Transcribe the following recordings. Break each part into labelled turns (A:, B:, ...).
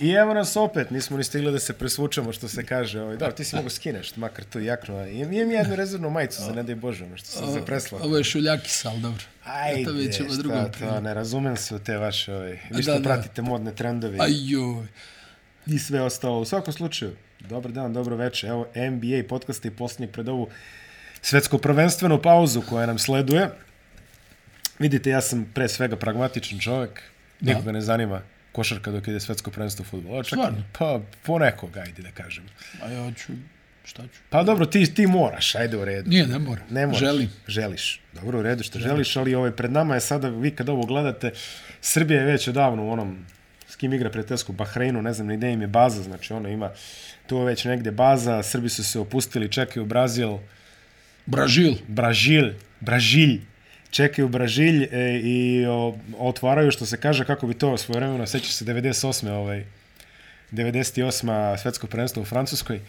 A: I evo nas opet, nismo ni stigli da se presvučemo što se kaže. Ovaj. Da, ti si mogu skineš, makar tu jakno. Imam, imam jednu rezervnu majicu za ne daj Bože, ono što sam zapreslao.
B: Ovo je šuljakis, ali dobro.
A: Ajde,
B: to vidjet ćemo
A: šta
B: drugom
A: to,
B: prilikom.
A: ne razumem se u te vaše, ovaj. vi
B: A
A: što
B: da, da.
A: pratite modne trendove
B: Ajoj.
A: i sve ostalo. U svakom slučaju, dobar dan, dobro večer. Evo, NBA podcast je posljednji pred ovu svetsko prvenstvenu pauzu koja nam sleduje. Vidite, ja sam pre svega pragmatičan čovjek. Nikoga ne zanima košarka dok ide svetsko prvenstvo futbola. Čak,
B: Stvarno?
A: pa ponekog, ajde da kažem.
B: A ja ću, šta ću?
A: Pa dobro, ti, ti moraš, ajde u redu.
B: Nije, ne mora.
A: Ne moraš.
B: Želim.
A: Želiš. Dobro, u redu što želiš, ali ovaj, pred nama je sada, vi kad ovo gledate, Srbija je već odavno u onom s kim igra prijateljsku Bahreinu, ne znam ni gde im je baza, znači ono ima tu već negde baza, Srbi su se opustili, čekaju Brazil,
B: Brazil.
A: Brazil, Brazil, čekaju Brazil e, i o, otvaraju što se kaže kako bi to svoje vremena, sećaš se 98. ovaj 98. svetsko prvenstvo u Francuskoj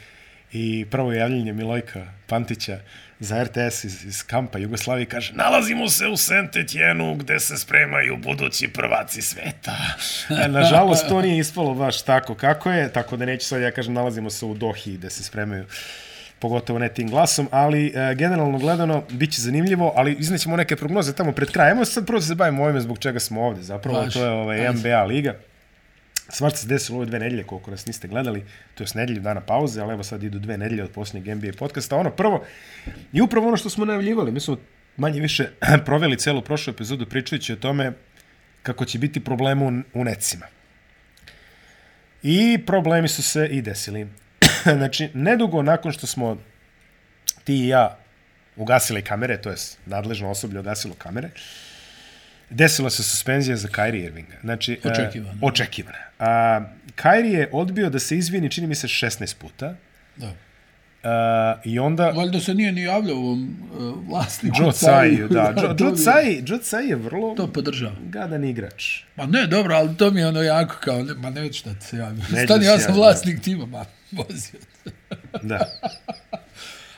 A: i prvo javljanje Milojka Pantića za RTS iz, iz kampa Jugoslavije kaže nalazimo se u Sentetjenu gde se spremaju budući prvaci sveta. E, nažalost, to nije ispalo baš tako kako je, tako da neću sad ja kažem nalazimo se u Dohi gde se spremaju pogotovo ne tim glasom, ali e, generalno gledano bit će zanimljivo, ali iznećemo neke prognoze tamo pred krajem. Evo sad prvo da se bavimo ovime zbog čega smo ovde, zapravo
B: Baš,
A: to je ovaj,
B: ajde.
A: NBA liga. Svašta se desilo ove dve nedelje, koliko nas niste gledali, to je nedelju dana pauze, ali evo sad idu dve nedelje od posljednjeg NBA podcasta. Ono prvo, i upravo ono što smo najavljivali, mi smo manje više proveli celu prošlu epizodu pričajući o tome kako će biti problema u, u necima. I problemi su se i desili. znači, nedugo nakon što smo ti i ja ugasili kamere, to je nadležno osoblje ugasilo kamere, desila se suspenzija za Kyrie Irvinga. Znači, e,
B: Očekivana.
A: očekivana. A, Kyrie je odbio da se izvini, čini mi se, 16 puta.
B: Da.
A: A, I onda...
B: Valjda se nije ni javljao ovom uh, vlasniku.
A: Joe Tsai, da. Joe-
B: to
A: Joe
B: mi je-
A: Tsai, Joe Tsai je vrlo
B: To podržavam.
A: gadan igrač.
B: Ma ne, dobro, ali to mi je ono jako kao, ne, ma neću da ti se javim.
A: da
B: Stani,
A: se
B: ja sam
A: javim,
B: vlasnik tima, ma, vozio.
A: Da.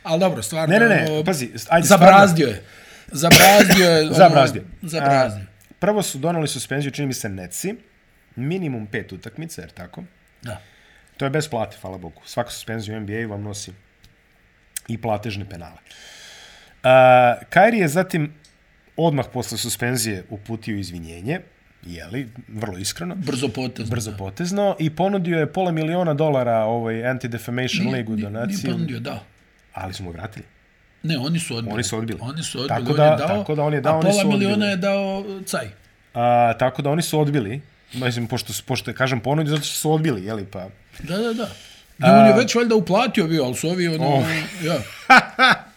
B: Ali dobro, stvarno.
A: Ne, ne, ne,
B: ono,
A: pazi, ajde,
B: Zabrazdio je. Zabrazdio je. ono,
A: Zabrazdio.
B: Zabrazdio.
A: A, prvo su donali suspenziju, čini mi se, Neci. Minimum pet utakmica, jer tako?
B: Da.
A: To je bez plate, hvala Bogu. Svaka suspenzija u NBA vam nosi i platežne penale. Uh, Kairi je zatim odmah posle suspenzije uputio izvinjenje, jeli, vrlo iskreno,
B: Brzo potez.
A: brzo potezno i ponudio je pola miliona dolara ovoj Anti-Defamation League u
B: Nije
A: donaciju,
B: ponudio, da.
A: ali su mu vratili.
B: Ne, oni su odbili.
A: Oni su odbili.
B: Oni su odbili.
A: Tako
B: on
A: da-
B: je dao,
A: tako da on je dao,
B: a
A: oni
B: pola
A: su odbili.
B: miliona je dao Caj.
A: A, tako da oni su odbili, mislim, pošto, pošto je, kažem, ponudio, zato što su odbili, jeli, pa...
B: Da, da, da. Ne, on je već valjda uplatio bio, ali su ovi ono,
A: Oh.
B: ja.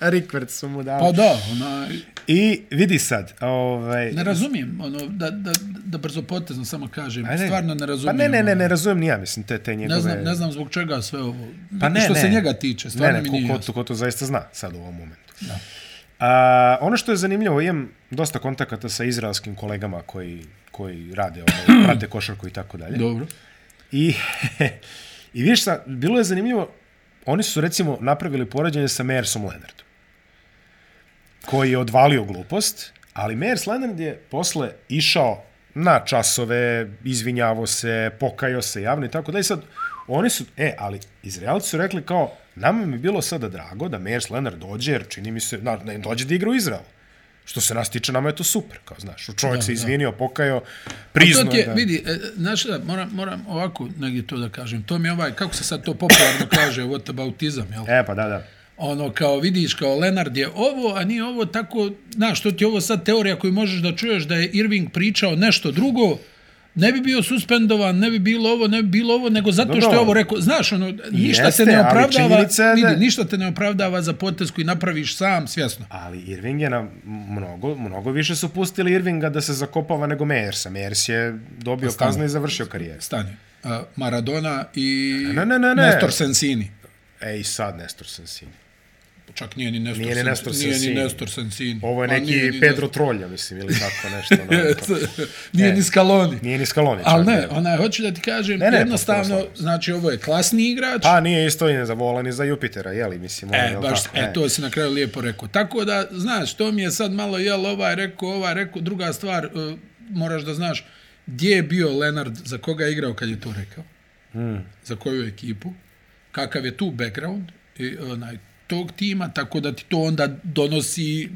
A: Rikvert su mu dali.
B: Pa da, ona,
A: I vidi sad, ovaj...
B: ne razumijem, ono, da, da, da brzo potezno samo kažem,
A: Ajde.
B: stvarno ne razumijem.
A: Pa ne, ne, ne,
B: ono.
A: ne razumijem ni ja, mislim, te, te njegove...
B: Ne znam, ne znam zbog čega sve ovo.
A: Pa ne,
B: što
A: ne.
B: se njega tiče,
A: Ne,
B: stvarno
A: ne,
B: mi nije
A: ko, ko,
B: jasno.
A: to, ko to zaista zna sad u ovom momentu. Da. A, ono što je zanimljivo, imam dosta kontakata sa izraelskim kolegama koji, koji rade, ovaj, prate košarku i tako dalje.
B: Dobro.
A: I, I vidiš šta, bilo je zanimljivo, oni su recimo napravili poređenje sa Mersom Leonardom, koji je odvalio glupost, ali Mers Leonard je posle išao na časove, izvinjavo se, pokajao se javno i tako da i sad oni su, e, ali Izraelci su rekli kao, nama mi je bilo sada drago da Mers Leonard dođe, jer čini mi se, na, ne, dođe da igra u Izraelu. Što se nas tiče, nama je to super, kao znaš. Čovjek
B: Da,
A: se
B: da.
A: izvinio, pokajao,
B: To
A: priznao
B: ti je,
A: da...
B: vidi, e, znaš, da, moram, moram ovako negdje to da kažem. To mi je ovaj, kako se sad to popularno kaže, whataboutizam, jel?
A: E, pa da, da.
B: ono kao vidiš kao Lenard je ovo, a nije ovo tako, znaš, to ti je ovo sad teorija koju možeš da čuješ da je Irving pričao nešto drugo, ne bi bio suspendovan, ne bi bilo ovo, ne bi bilo ovo, nego zato što je
A: Dobro.
B: ovo rekao, znaš, ono, ništa
A: Jeste,
B: te ne
A: ali
B: opravdava,
A: činjenica je da-
B: vidi, ništa te ne opravdava za potez koji napraviš sam, svjesno.
A: Ali Irving je na mnogo, mnogo više su pustili Irvinga da se zakopava nego Mejersa. Mejers je dobio
B: stani.
A: kaznu i završio karijeru.
B: Stani. A, Maradona i
A: Ne, ne, ne, ne.
B: Nestor Sensini.
A: E i sad Nestor Sensini.
B: Čak nije ni Nestor,
A: Nije ni
B: Sen-
A: Nestor
B: Nije
A: Sensini.
B: ni Nestor Sensini.
A: Ovo je
B: Pa nije
A: neki
B: ni
A: Pedro Trolja, mislim, ili tako nešto. ono,
B: Nestor-
A: to.
B: nije
A: E.
B: ni Scaloni.
A: Nije ni Scaloni.
B: Ali
A: čak,
B: ne, onaj, hoću da ti kažem,
A: Ne, pa
B: ne,
A: ne,
B: ne,
A: potpuno
B: jednostavno,
A: slažem
B: znači ovo je klasni igrač,
A: Pa nije isto i ne za vola, ni za Jupitera, jeli, mislim. ono,
B: e,
A: jel
B: baš,
A: tako,
B: e, to si na kraju lijepo rekao. Tako da, znaš, to mi je sad malo, jel, ovaj rekao, ovaj rekao, druga stvar, e, moraš da znaš, gdje je bio Lenard, za koga je igrao kad je to rekao?
A: Hmm.
B: mm. za koju ekipu, kakav je tu background i, onaj, tog tima, tako da ti to onda donosi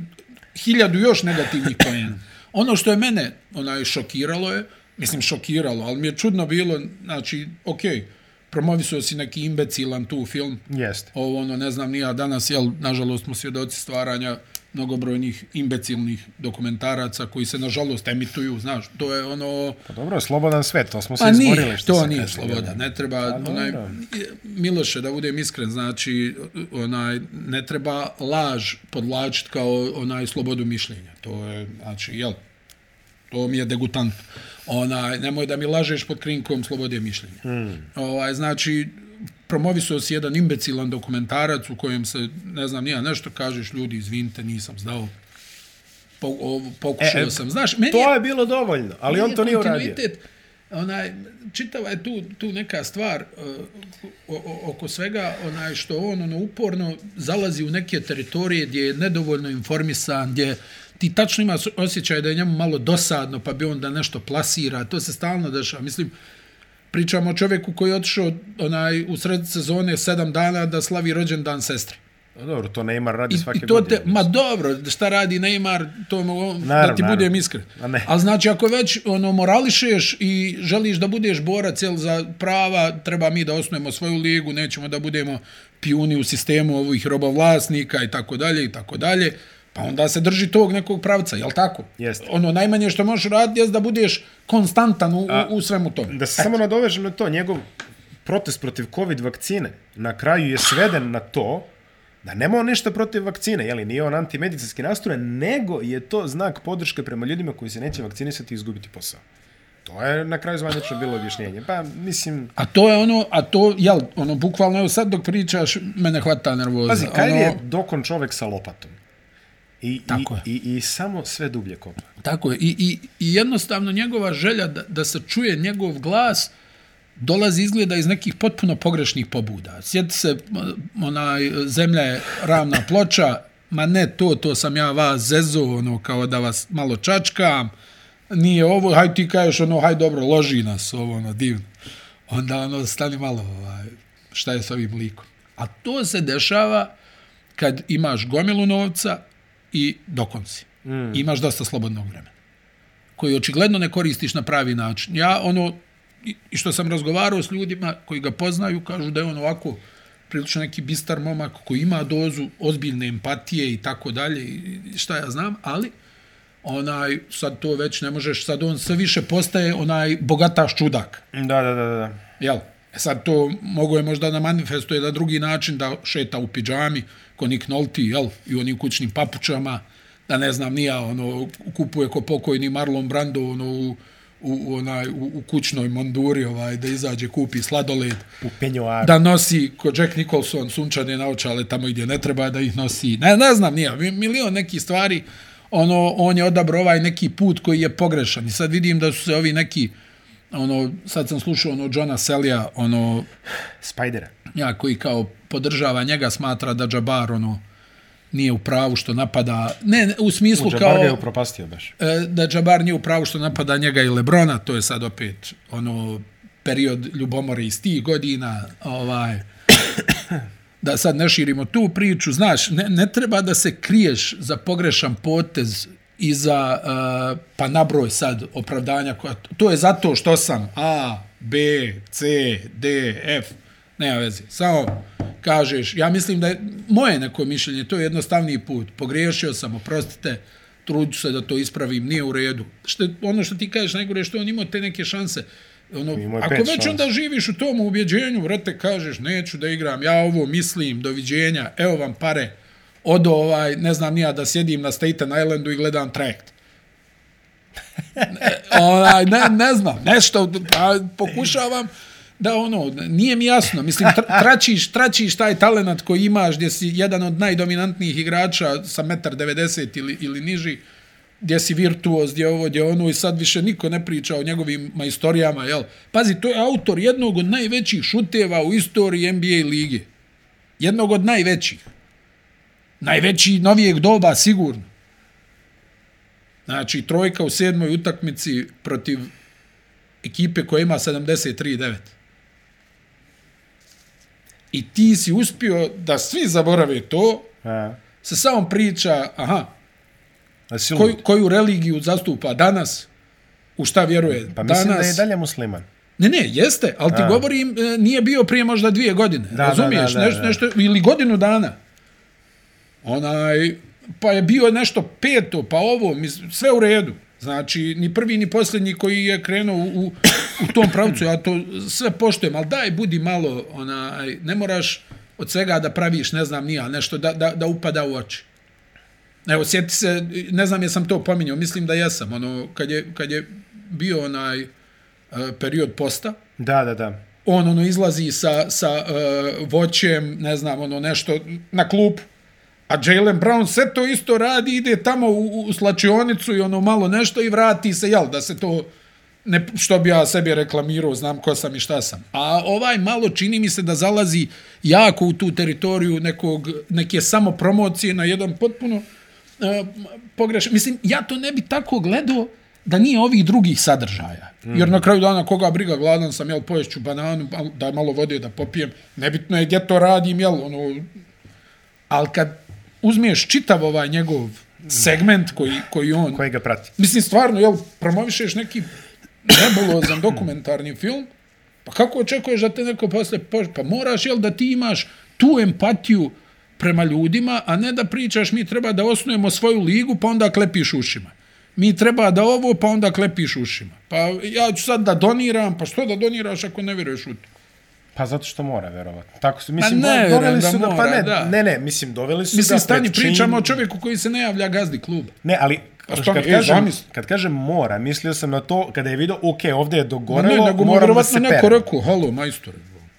B: hiljadu još negativnih pojena. Ono što je mene onaj, šokiralo je, mislim šokiralo, ali mi je čudno bilo, znači, okej, okay, promovisuo si neki imbecilan tu film.
A: Jeste.
B: Ovo, ono, ne znam, nija danas, jel, nažalost, smo svjedoci stvaranja mnogobrojnih imbecilnih dokumentaraca koji se, nažalost, emituju, znaš, to je ono...
A: Pa dobro, slobodan svet, to smo se
B: Pa nije,
A: izborili. Što
B: to
A: se
B: nije
A: kaže,
B: sloboda,
A: jel?
B: ne treba,
A: Pa dobro.
B: onaj, Miloše, da budem iskren, znači, onaj, ne treba laž podlačiti kao onaj slobodu mišljenja, to je, znači, jel, to mi je degutant. Onaj, nemoj da mi lažeš pod krinkom slobode mišljenja.
A: Hmm.
B: Mm. Ovaj, znači, promovisuo si jedan imbecilan dokumentarac u kojem se, ne znam, nija nešto, kažeš, ljudi, izvinite, nisam znao. Po, ovo, pokušao
A: E,
B: e,
A: e,
B: sam. Znaš, meni
A: To je bilo dovoljno, ali on to nije uradio.
B: kontinuitet, Onaj, čitava je tu, tu neka stvar uh, o, o, oko svega onaj što on ono, uporno zalazi u neke teritorije gdje je nedovoljno informisan, gdje ti tačno ima osjećaj da je njemu malo dosadno pa bi onda nešto plasira, to se stalno dešava. Mislim, pričamo o čovjeku koji je otišao onaj, u sred sezone sedam dana da slavi rođendan sestre.
A: No, Pa dobro, to Neymar radi svake
B: I to
A: godine.
B: te, ma dobro, šta radi Neymar, to mu, da ti
A: naravno.
B: budem iskren.
A: A ne.
B: A znači, ako već ono, morališeš i želiš da budeš borac jel, za prava, treba mi da osnujemo svoju ligu, nećemo da budemo pijuni u sistemu ovih robovlasnika i tako dalje i tako dalje. Pa onda se drži tog nekog pravca, jel tako?
A: Jeste.
B: Ono, najmanje što možeš raditi je da budeš konstantan u, A, u svemu tome.
A: Da se samo nadovežem na to, njegov protest protiv COVID vakcine na kraju je sveden na to da nema on ništa protiv vakcine, jeli, nije on antimedicinski nastrojen, nego je to znak podrške prema ljudima koji se neće vakcinisati i izgubiti posao. To je na kraju zvanično bilo objašnjenje. Pa, mislim,
B: A to je ono, a to, jel, ono, bukvalno, evo sad dok pričaš, mene hvata nervoza.
A: pazi, Kajli
B: ono,
A: je dokon čovek sa lopatom. I, i,
B: Tako je.
A: i, i samo sve dublje kopa.
B: Tako je. I, i, i jednostavno njegova želja da, da se čuje njegov glas dolazi izgleda iz nekih potpuno pogrešnih pobuda. Sjeti se, m, onaj, zemlja je ravna ploča, ma ne to, to sam ja vas zezo, ono, kao da vas malo čačkam, nije ovo, haj ti kažeš, ono, haj dobro, loži nas, ovo, ono, divno. Onda, ono, stani malo, ovaj, šta je s ovim likom. A to se dešava kad imaš gomilu novca i dokonci. Mm. Imaš dosta slobodnog vremena koji očigledno ne koristiš na pravi način. Ja ono, i- i što sam razgovarao s ljudima koji ga poznaju, kažu da je on ovako prilično neki bistar momak koji ima dozu ozbiljne empatije i tako dalje i i šta ja znam, ali onaj, sad to već ne možeš, sad on sve više postaje onaj bogataš čudak,
A: Da, da, da, da.
B: jel? E sad to mogo je možda da manifestuje na drugi način, da šeta u pidžami, ko Nick Nolte, jel? I u onim kućnim papučama, da ne znam, nija, ono, kupuje ko pokojni Marlon Brando, ono, u, u, u onaj, u, u kućnoj monduri, ovaj, da izađe, kupi sladoled,
A: U penjoaru.
B: da nosi ko Jack Nicholson sunčane naočale tamo gdje ne treba da ih nosi. Ne, ne znam, nije, mi- milion nekih stvari, ono, on je odabrao ovaj neki put koji je pogrešan. I sad vidim da su se ovi neki, ono, sad sam slušao ono Johna Selija, ono,
A: Spajdera.
B: ja koji kao podržava njega, smatra da Jabbar, ono, nije u pravu što napada, ne, ne u smislu
A: Džabar
B: kao...
A: ga je upropastio baš.
B: E, da Džabar nije u pravu što napada njega i Lebrona, to je sad opet ono period ljubomore iz tih godina, ovaj, da sad ne širimo tu priču, znaš, ne, ne treba da se kriješ za pogrešan potez i za, uh, pa nabroj sad opravdanja, koja, to je zato što sam A, B, C, D, F, nema veze, samo kažeš, ja mislim da je moje neko mišljenje, to je jednostavniji put, pogriješio sam, oprostite, trudit ću se da to ispravim, nije u redu. Što, ono što ti kažeš, najgore je što on imao te neke šanse, ono,
A: Imao je
B: ako
A: pet
B: već
A: šansi.
B: onda da živiš u tom ubjeđenju, vrate, kažeš, neću da igram, ja ovo mislim, doviđenja, evo vam pare, odo ovaj, ne znam nija, da sjedim na Staten Islandu i gledam trajekt. E, onaj, ne, ne znam, nešto, pa pokušavam da ono, nije mi jasno, mislim, tra- tračiš, tračiš taj talenat koji imaš gdje si jedan od najdominantnijih igrača sa 1,90 ili, ili niži, gdje si virtuoz, gdje ovo, gdje ono i sad više niko ne priča o njegovim majstorijama, jel? Pazi, to je autor jednog od najvećih šuteva u istoriji NBA lige. Jednog od najvećih. Najveći novijeg doba, sigurno. Znači, trojka u sedmoj utakmici protiv ekipe koja ima 73-9. I ti si uspio da svi zaborave to,
A: A,
B: se samo priča, aha,
A: a si
B: koju,
A: lud?
B: koju religiju zastupa danas, u šta vjeruje
A: Pa
B: danas.
A: mislim da je i dalje musliman.
B: Ne, ne, jeste, ali ti govorim, e, nije bio prije možda dvije godine,
A: da,
B: razumiješ,
A: da, da,
B: nešto,
A: da.
B: nešto, ili godinu dana. Onaj, pa je bio nešto peto, pa ovo, mis- sve u redu. Znači, ni prvi, ni posljednji koji je krenuo u, u tom pravcu, ja to sve poštujem, ali daj, budi malo, onaj, ne moraš od svega da praviš, ne znam, nija, nešto da, da, da upada u oči. Evo, sjeti se, ne znam jesam to pominjao, mislim da jesam, ono, kad je, kad je bio onaj e, period posta,
A: Da, da, da.
B: on ono izlazi sa, sa uh, voćem, ne znam, ono nešto na klupu. A Jalen Brown sve to isto radi, ide tamo u, u slačionicu i ono malo nešto i vrati se, jel, da se to, ne, što bi ja sebi reklamirao, znam ko sam i šta sam. A ovaj malo čini mi se da zalazi jako u tu teritoriju nekog, neke samopromocije na jedan potpuno uh, pogrešan. Mislim, ja to ne bi tako gledao da nije ovih drugih sadržaja. Mm. Jer na kraju dana koga briga, gladan sam, jel, poješću bananu, al- daj malo vode da popijem. Nebitno je gdje to radim, jel, ono, ali kad uzmiješ čitav ovaj njegov segment koji, koji on...
A: Koji ga prati?
B: Mislim, stvarno, jel, promovišeš neki nebulozan dokumentarni film, pa kako očekuješ da te neko posle... poš- Pa moraš, jel, da ti imaš tu empatiju prema ljudima, a ne da pričaš mi treba da osnujemo svoju ligu, pa onda klepiš ušima. Mi treba da ovo, pa onda klepiš ušima. Pa ja ću sad da doniram, pa što da doniraš ako ne vjeruješ u to?
A: Pa zato što mora, verovatno. Tako su, mislim,
B: ne,
A: do- doveli
B: vjerujem da
A: su da, pa
B: mora,
A: ne,
B: da.
A: ne, ne, mislim, doveli su
B: Mislim,
A: da pred
B: stani,
A: čin-
B: pričamo o čovjeku koji se ne javlja gazdi kluba.
A: Ne, ali
B: A
A: kad,
B: šta mi- e,
A: kažem,
B: zamisli.
A: kad kažem mora, mislio sam na to kada je vidio, ok, ovdje je
B: Pa ne,
A: dogorelo,
B: nego mu je
A: moram da se
B: vjerovatno neko
A: perem.
B: rekao, halo, majstore,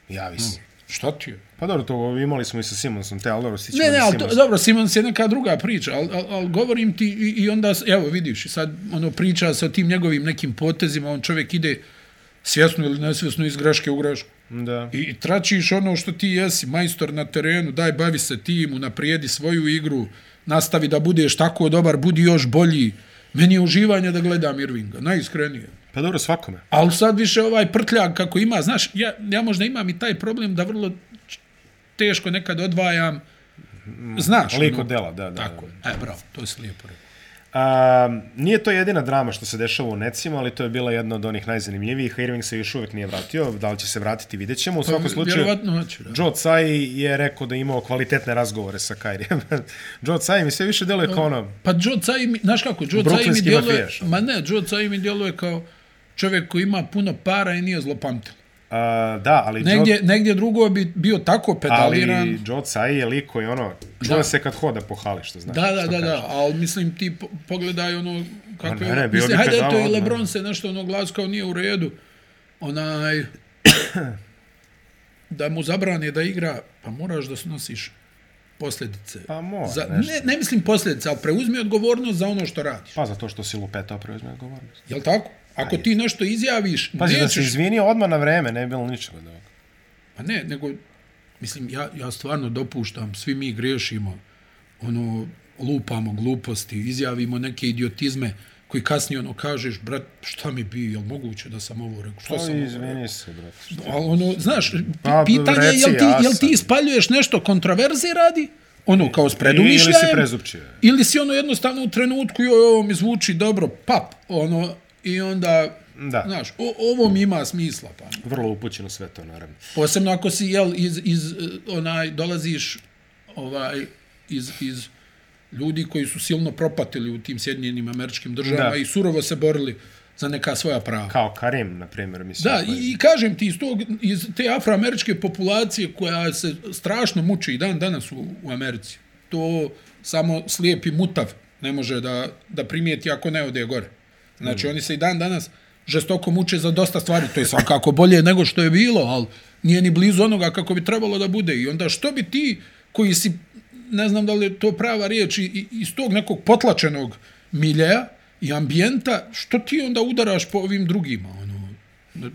A: Javi se.
B: šta ti je?
A: Pa dobro, to imali smo i sa Simonsom, te, ali dobro, sićemo
B: Ne, ne, ali to,
A: Simonsa.
B: dobro, Simons je neka druga priča, ali al, al, govorim ti i, i onda, s- evo vidiš, i sad ono priča se o tim njegovim nekim potezima, on čovjek ide svjesno ili nesvjesno iz greške u grešku.
A: Da.
B: I, I tračiš ono što ti jesi, majstor na terenu, daj bavi se tim, unaprijedi svoju igru, nastavi da budeš tako dobar, budi još bolji. Meni je uživanje da gledam Irvinga, najiskrenije.
A: Pa dobro, svakome.
B: Ali sad više ovaj prtljag kako ima, znaš, ja, ja možda imam i taj problem da vrlo č- teško nekad odvajam, znaš.
A: Liko
B: ono,
A: dela, da, da.
B: Tako je. E, bravo, to si lijepo rekao.
A: A, nije to jedina drama što se dešava u Necima, ali to je bila jedna od onih najzanimljivijih. Irving se još uvijek nije vratio, da li će se vratiti, vidjet ćemo. U svakom slučaju,
B: Pa, Vjerovatno hoće, da.
A: Joe Tsai je rekao da je imao kvalitetne razgovore sa Kairijem. Joe Tsai mi sve više deluje kao ono,
B: Pa Joe Tsai, mi, znaš kako, Joe Tsai mi
A: Brooklynski
B: djeluje,
A: mafijaš, ono.
B: ma ne, Joe Tsai mi djeluje kao čovjek koji ima puno para i nije zlopamtil.
A: a, da, ali Joe,
B: Negdje, negdje drugo bi bio tako
A: ali
B: pedaliran.
A: Joe Tsai je lik koji ono, čuje
B: Da.
A: se kad hoda po hali, što znači.
B: Da, da, da, da, ali mislim ti po- pogledaj ono kako
A: Ma
B: je...
A: ne, ne, bio
B: mislim,
A: bi
B: hajde,
A: pedal,
B: eto i
A: ono.
B: Lebron se nešto ono glas kao nije u redu. Onaj... da mu zabrane da igra, pa moraš da snosiš posljedice.
A: Pa mora,
B: za,
A: nešto.
B: ne, ne mislim posljedice, ali preuzmi odgovornost za ono što radiš.
A: Pa zato što si lupetao preuzme odgovornost.
B: Jel tako? Ako ti nešto izjaviš,
A: Pa Pazi, da
B: nećeš...
A: se izvinio odmah na vreme, ne bi bilo ničega da
B: Pa ne, nego, mislim, ja, ja stvarno dopuštam, svi mi griješimo, ono, lupamo gluposti, izjavimo neke idiotizme koji kasnije ono kažeš, brat, šta mi bi, jel moguće da sam ovo rekao, što sam
A: Oj,
B: ovo rekao?
A: Pa izvini se, brate.
B: Ali ono, znaš, pi-
A: Pa,
B: pitanje je
A: reci,
B: jel ti, jel
A: jasan.
B: ti ispaljuješ nešto kontroverze radi, ono, kao
A: Ili, ili
B: s
A: si
B: predumišljajem,
A: prezupčio.
B: ili si ono jednostavno u trenutku, joj, ovo mi zvuči dobro, pap, ono, i onda,
A: Da.
B: znaš, o, ovo mi ima smisla, pa.
A: Vrlo upućeno sve to, naravno.
B: Posebno ako si jel iz iz eh, onaj dolaziš ovaj iz iz ljudi koji su silno propatili u tim Sjedinjenim američkim državama
A: Da.
B: i surovo se borili za neka svoja prava.
A: Kao Karim, na primjer, mislim.
B: Da, i, i kažem ti, iz, tog, iz te afroameričke populacije koja se strašno muči i dan danas u, u Americi, to samo slijepi mutav ne može da, da primijeti ako ne ode gore. Znači, mm. oni se i dan danas žestoko muče za dosta stvari, to je svakako bolje nego što je bilo, ali nije ni blizu onoga kako bi trebalo da bude. I onda što bi ti koji si, ne znam da li je to prava riječ, i- i- iz tog nekog potlačenog miljeja i ambijenta, što ti onda udaraš po ovim drugima? Ono,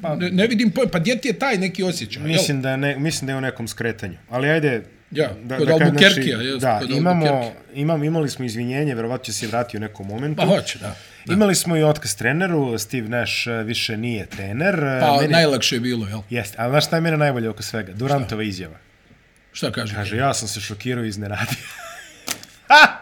B: Pa, ne, ne vidim pojma, pa gdje ti je taj neki osjećaj? Mislim,
A: Mislim da, je ne, mislim da je u nekom skretanju. Ali ajde...
B: Ja,
A: da,
B: kod
A: da kažem,
B: Albuquerquea,
A: znači,
B: jest,
A: Da,
B: kod
A: imamo,
B: Albuquerquea.
A: imam, imali smo izvinjenje, vjerovatno će se vratiti u nekom momentu.
B: pa hoće, da.
A: Imali smo i otkaz treneru, Steve Nash eh, više nije trener. eh,
B: Pa
A: meni-
B: najlakše je bilo, jel?
A: Jeste, ali znaš šta je mene najbolje oko svega? Durantova izjava.
B: Šta kaže?
A: Kaže, ja sam se šokirao i iznenadio.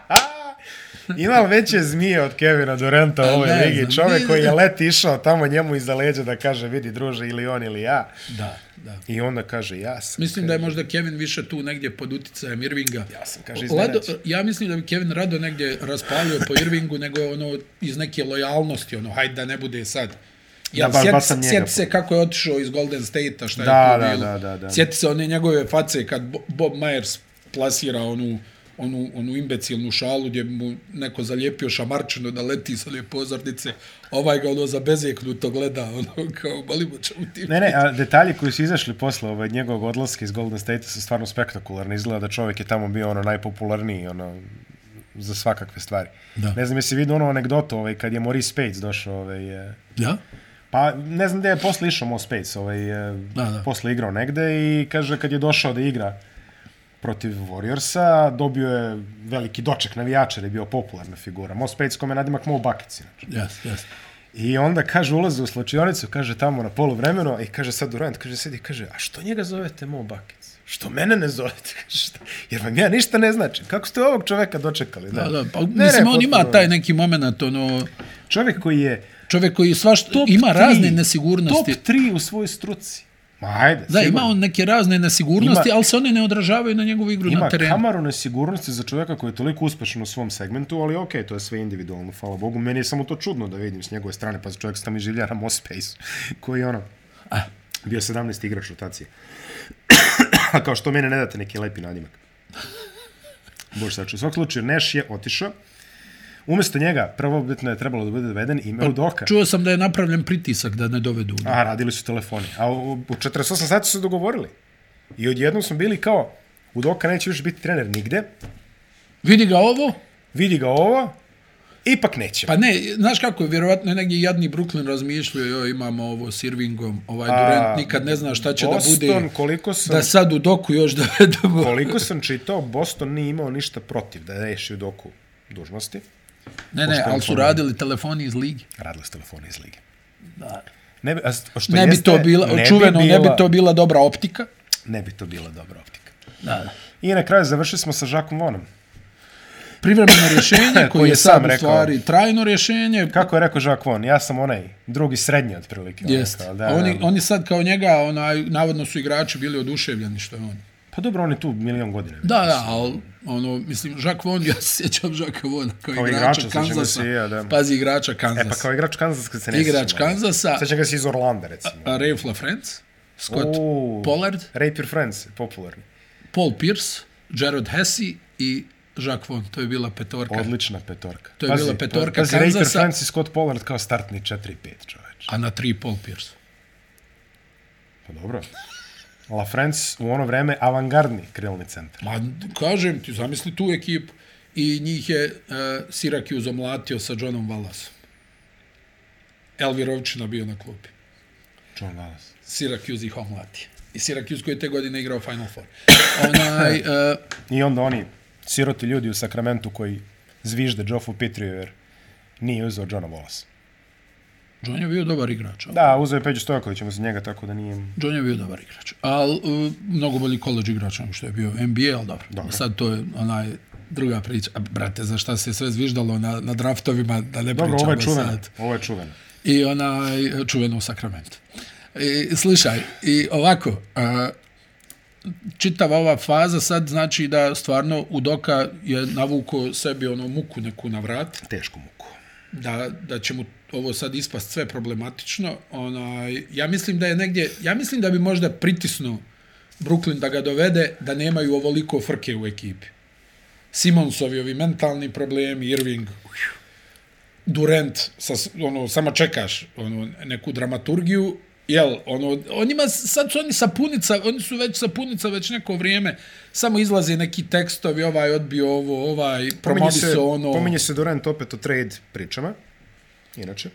A: Ima li veće zmije od Kevina Duranta u ovoj
B: Pa, Ne
A: ligi?
B: znam,
A: Čovjek
B: ne
A: koji je
B: znam.
A: let išao tamo njemu iza leđa da kaže vidi druže ili on ili ja.
B: Da, da.
A: I onda kaže ja sam.
B: Mislim da je možda Kevin više tu negdje pod uticajem Irvinga.
A: Ja sam, kaže,
B: Lado,
A: iznenađen.
B: ja mislim da bi Kevin Rado negdje raspalio po Irvingu, nego je ono iz neke lojalnosti, ono, hajde da ne bude sad. Ja,
A: Da, ba-
B: sjeti,
A: bacam
B: se,
A: njega.
B: sjeti se kako je otišao iz Golden State-a, šta
A: Da,
B: je tu
A: da,
B: bilo.
A: da, da, da.
B: Sjeti se one njegove face kad Bo- Bob Myers plasira onu, onu, onu imbecilnu šalu gdje mu neko zalijepio šamarčinu da leti sa one pozornice. Ovaj ga ono zabezeknuto gleda, ono kao, balimo čemu ti...
A: Ne, ne, a detalji koji su izašli posle ovaj, njegovog odlaska iz Golden State su stvarno spektakularni. Izgleda da čovjek je tamo bio ono najpopularniji ono, za svakakve stvari.
B: Da.
A: Ne znam jesi vidio onu anegdotu ovaj, kad je Maurice Spates došao ovaj, eh,
B: Ja?
A: Pa ne znam gdje je posle išao Mo Space, ovaj, e,
B: Da, da.
A: posle igrao negde i kaže kad je došao da igra protiv Warriorsa, dobio je veliki doček navijača jer je bio popularna figura. Mo Space kome je nadimak Mo Buckets inače.
B: Jas, jas.
A: I onda kaže ulaze u slačionicu, kaže tamo na polu vremeno i kaže sad Durant, kaže sedi, kaže a što njega zovete Mo Buckets? Što mene ne zovete? Kaže, šta? Jer vam ja ništa ne znači. Kako ste ovog čoveka dočekali?
B: Da, da, pa, mislim, on ima
A: potpuno.
B: taj neki moment, ono,
A: Čovjek koji je
B: čovjek koji svašta
A: top
B: ima
A: tri,
B: razne nesigurnosti.
A: Top 3 u svojoj struci. Ma ajde,
B: Da,
A: sigurno.
B: ima on neke razne nesigurnosti,
A: Ima-
B: ali se one ne odražavaju na njegovu igru
A: Ima
B: na terenu.
A: kamaru nesigurnosti za čovjeka koji je toliko uspešan u svom segmentu, ali okej, to je sve individualno, hvala Bogu. Meni je samo to čudno da vidim s njegove strane, pa čovjek se tamo življa na Mospace, koji je ono,
B: Ah.
A: bio 17. igrač rotacije. A kao što mene ne date neki lepi nadimak. Bože saču. U svakom slučaju, Neš je otišao. Umjesto njega, prvobitno je trebalo da bude doveden ime Udoka.
B: Čuo sam da je napravljen pritisak da ne dovedu. A,
A: A, radili su telefoni. A u, u 48 sati su se dogovorili. I odjednom smo bili kao, Udoka neće više biti trener nigde,
B: Vidi ga ovo?
A: vidi ga ovo, ipak neće. Pa,
B: Pa ne, znaš kako je, vjerovatno je negdje jadni Brooklyn razmišljao, joj, imamo ovo s Irvingom, ovaj Durant nikad ne zna šta će
A: Boston,
B: da bude,
A: koliko sam,
B: da sad u doku još dovedemo.
A: koliko sam čitao, Boston nije imao ništa protiv da reši Udoku dužnosti.
B: Ne, ne, ali su radili telefoni iz ligi.
A: Radili su telefoni iz lige.
B: Da.
A: Ne bi, a s- što
B: Ne bi
A: Pa jeste,
B: to bila,
A: ne
B: čuveno,
A: bi
B: ne
A: bila,
B: bi to bila dobra optika.
A: Ne bi to bila dobra optika.
B: Da, da.
A: I na kraju završili smo sa Žakom Vonom.
B: privremeno rješenje
A: Koji
B: koje
A: je
B: je
A: sam
B: sad u
A: rekao.
B: stvari trajno rješenje.
A: Kako je rekao Žak Von, ja sam onaj drugi srednji otprilike. ono
B: pa Jest.
A: kao,
B: Da, oni, oni sad kao njega, onaj, navodno su igrači bili oduševljeni što je on.
A: Pa dobro, on je tu milion godina.
B: Da, da, ali ono, mislim, Jacques Vaughn, ja se sjećam Jacques Vaughn kao,
A: Kao
B: kao
A: igrača,
B: igrača,
A: sjećam ga
B: Kanzasa.
A: se i ja, da.
B: Pazi, igrača
A: E pa
B: Kanzasa.
A: kao igrač Kanzasa se ne
B: Igrač
A: sjećam, ono.
B: Kanzasa,
A: Sećam ga se iz Orlanda, recimo.
B: Ray LaFrance, Scott
A: Uuu.
B: Pollard,
A: Rape Your Friends, popularni.
B: Paul Pierce, Jared Hesse i Jacques Vaughn. To je bila petorka.
A: Odlična petorka.
B: To je bila petorka
A: pazi, Rape Your
B: Kanzasa.
A: Friends i Scott Pollard kao startni 4-5, čoveč.
B: A na tri Paul Pierce.
A: Pa dobro. La France u ono vreme avangardni krilni centar.
B: Ma, kažem ti, zamisli tu ekipu. I njih je uh, Syracuse omlatio sa Johnom Wallaceom. Elvirovčina bio na klupi.
A: John Wallace.
B: Syracuse ih omlatio. I Syracuse koji je te godine igrao Final Four. Onaj, uh,
A: I onda oni siroti ljudi u Sakramentu koji zvižde Joffu Petriju jer nije uzeo Johna Wallace.
B: John je bio dobar igrač. Da.
A: Da, uzeo je Peđu Stojakovića mu za njega, tako da nije...
B: John je bio dobar igrač. Ali uh, mnogo bolji college igrač nego što je bio NBA, ali dobro.
A: Dobro.
B: dobro. Sad to je onaj druga priča. A, brate, za šta se sve zviždalo na, na draftovima, da ne
A: Dobro,
B: pričamo
A: ovo je čuveno.
B: sad.
A: Ovo je čuveno.
B: i onaj e, čuveno u Sakramentu. I, slušaj, i ovako, a, čitava ova faza sad znači da stvarno Udoka je navuko sebi ono muku neku na vrat,
A: Tešku muku.
B: da, da će mu ovo sad ispast sve problematično. Onaj, ja mislim da je negdje, ja mislim da bi možda pritisnuo Brooklyn da ga dovede da nemaju ovoliko frke u ekipi. Simonsovi ovi mentalni problemi, Irving, Durant, sa, s- ono, samo čekaš ono, neku dramaturgiju, jel, ono, on ima, sad su oni sapunica, oni su već sapunica već neko vrijeme, samo izlaze neki tekstovi, ovaj odbio ovo, ovaj
A: Pominje se,
B: promoviso ono.
A: pominje se Durant opet o trade pričama. Inače.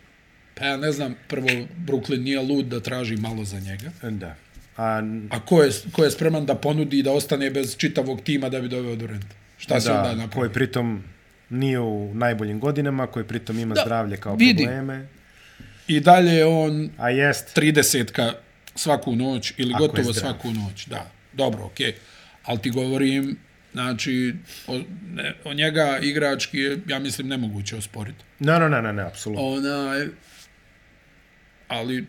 B: Pa ja ne znam, prvo, Brooklyn nije lud da traži malo za njega.
A: Da. A n-
B: A ko je, ko je spreman da ponudi i da ostane bez čitavog tima da bi doveo Durant? Šta se onda
A: da, koji
B: napravi?
A: pritom nije u najboljim godinama, koji pritom ima da,
B: Da,
A: zdravlje kao vidi.
B: vidi.
A: probleme.
B: I dalje je on
A: A jest,
B: 30 svaku noć ili
A: Ako je
B: gotovo
A: zdrav.
B: svaku noć, da. Dobro, okej. Okay. ali ti govorim, znači, o, ne, o njega igrački je, ja mislim, nemoguće osporiti.
A: Ne, ne, ne, ne, ne, apsolutno.
B: Onaj, ali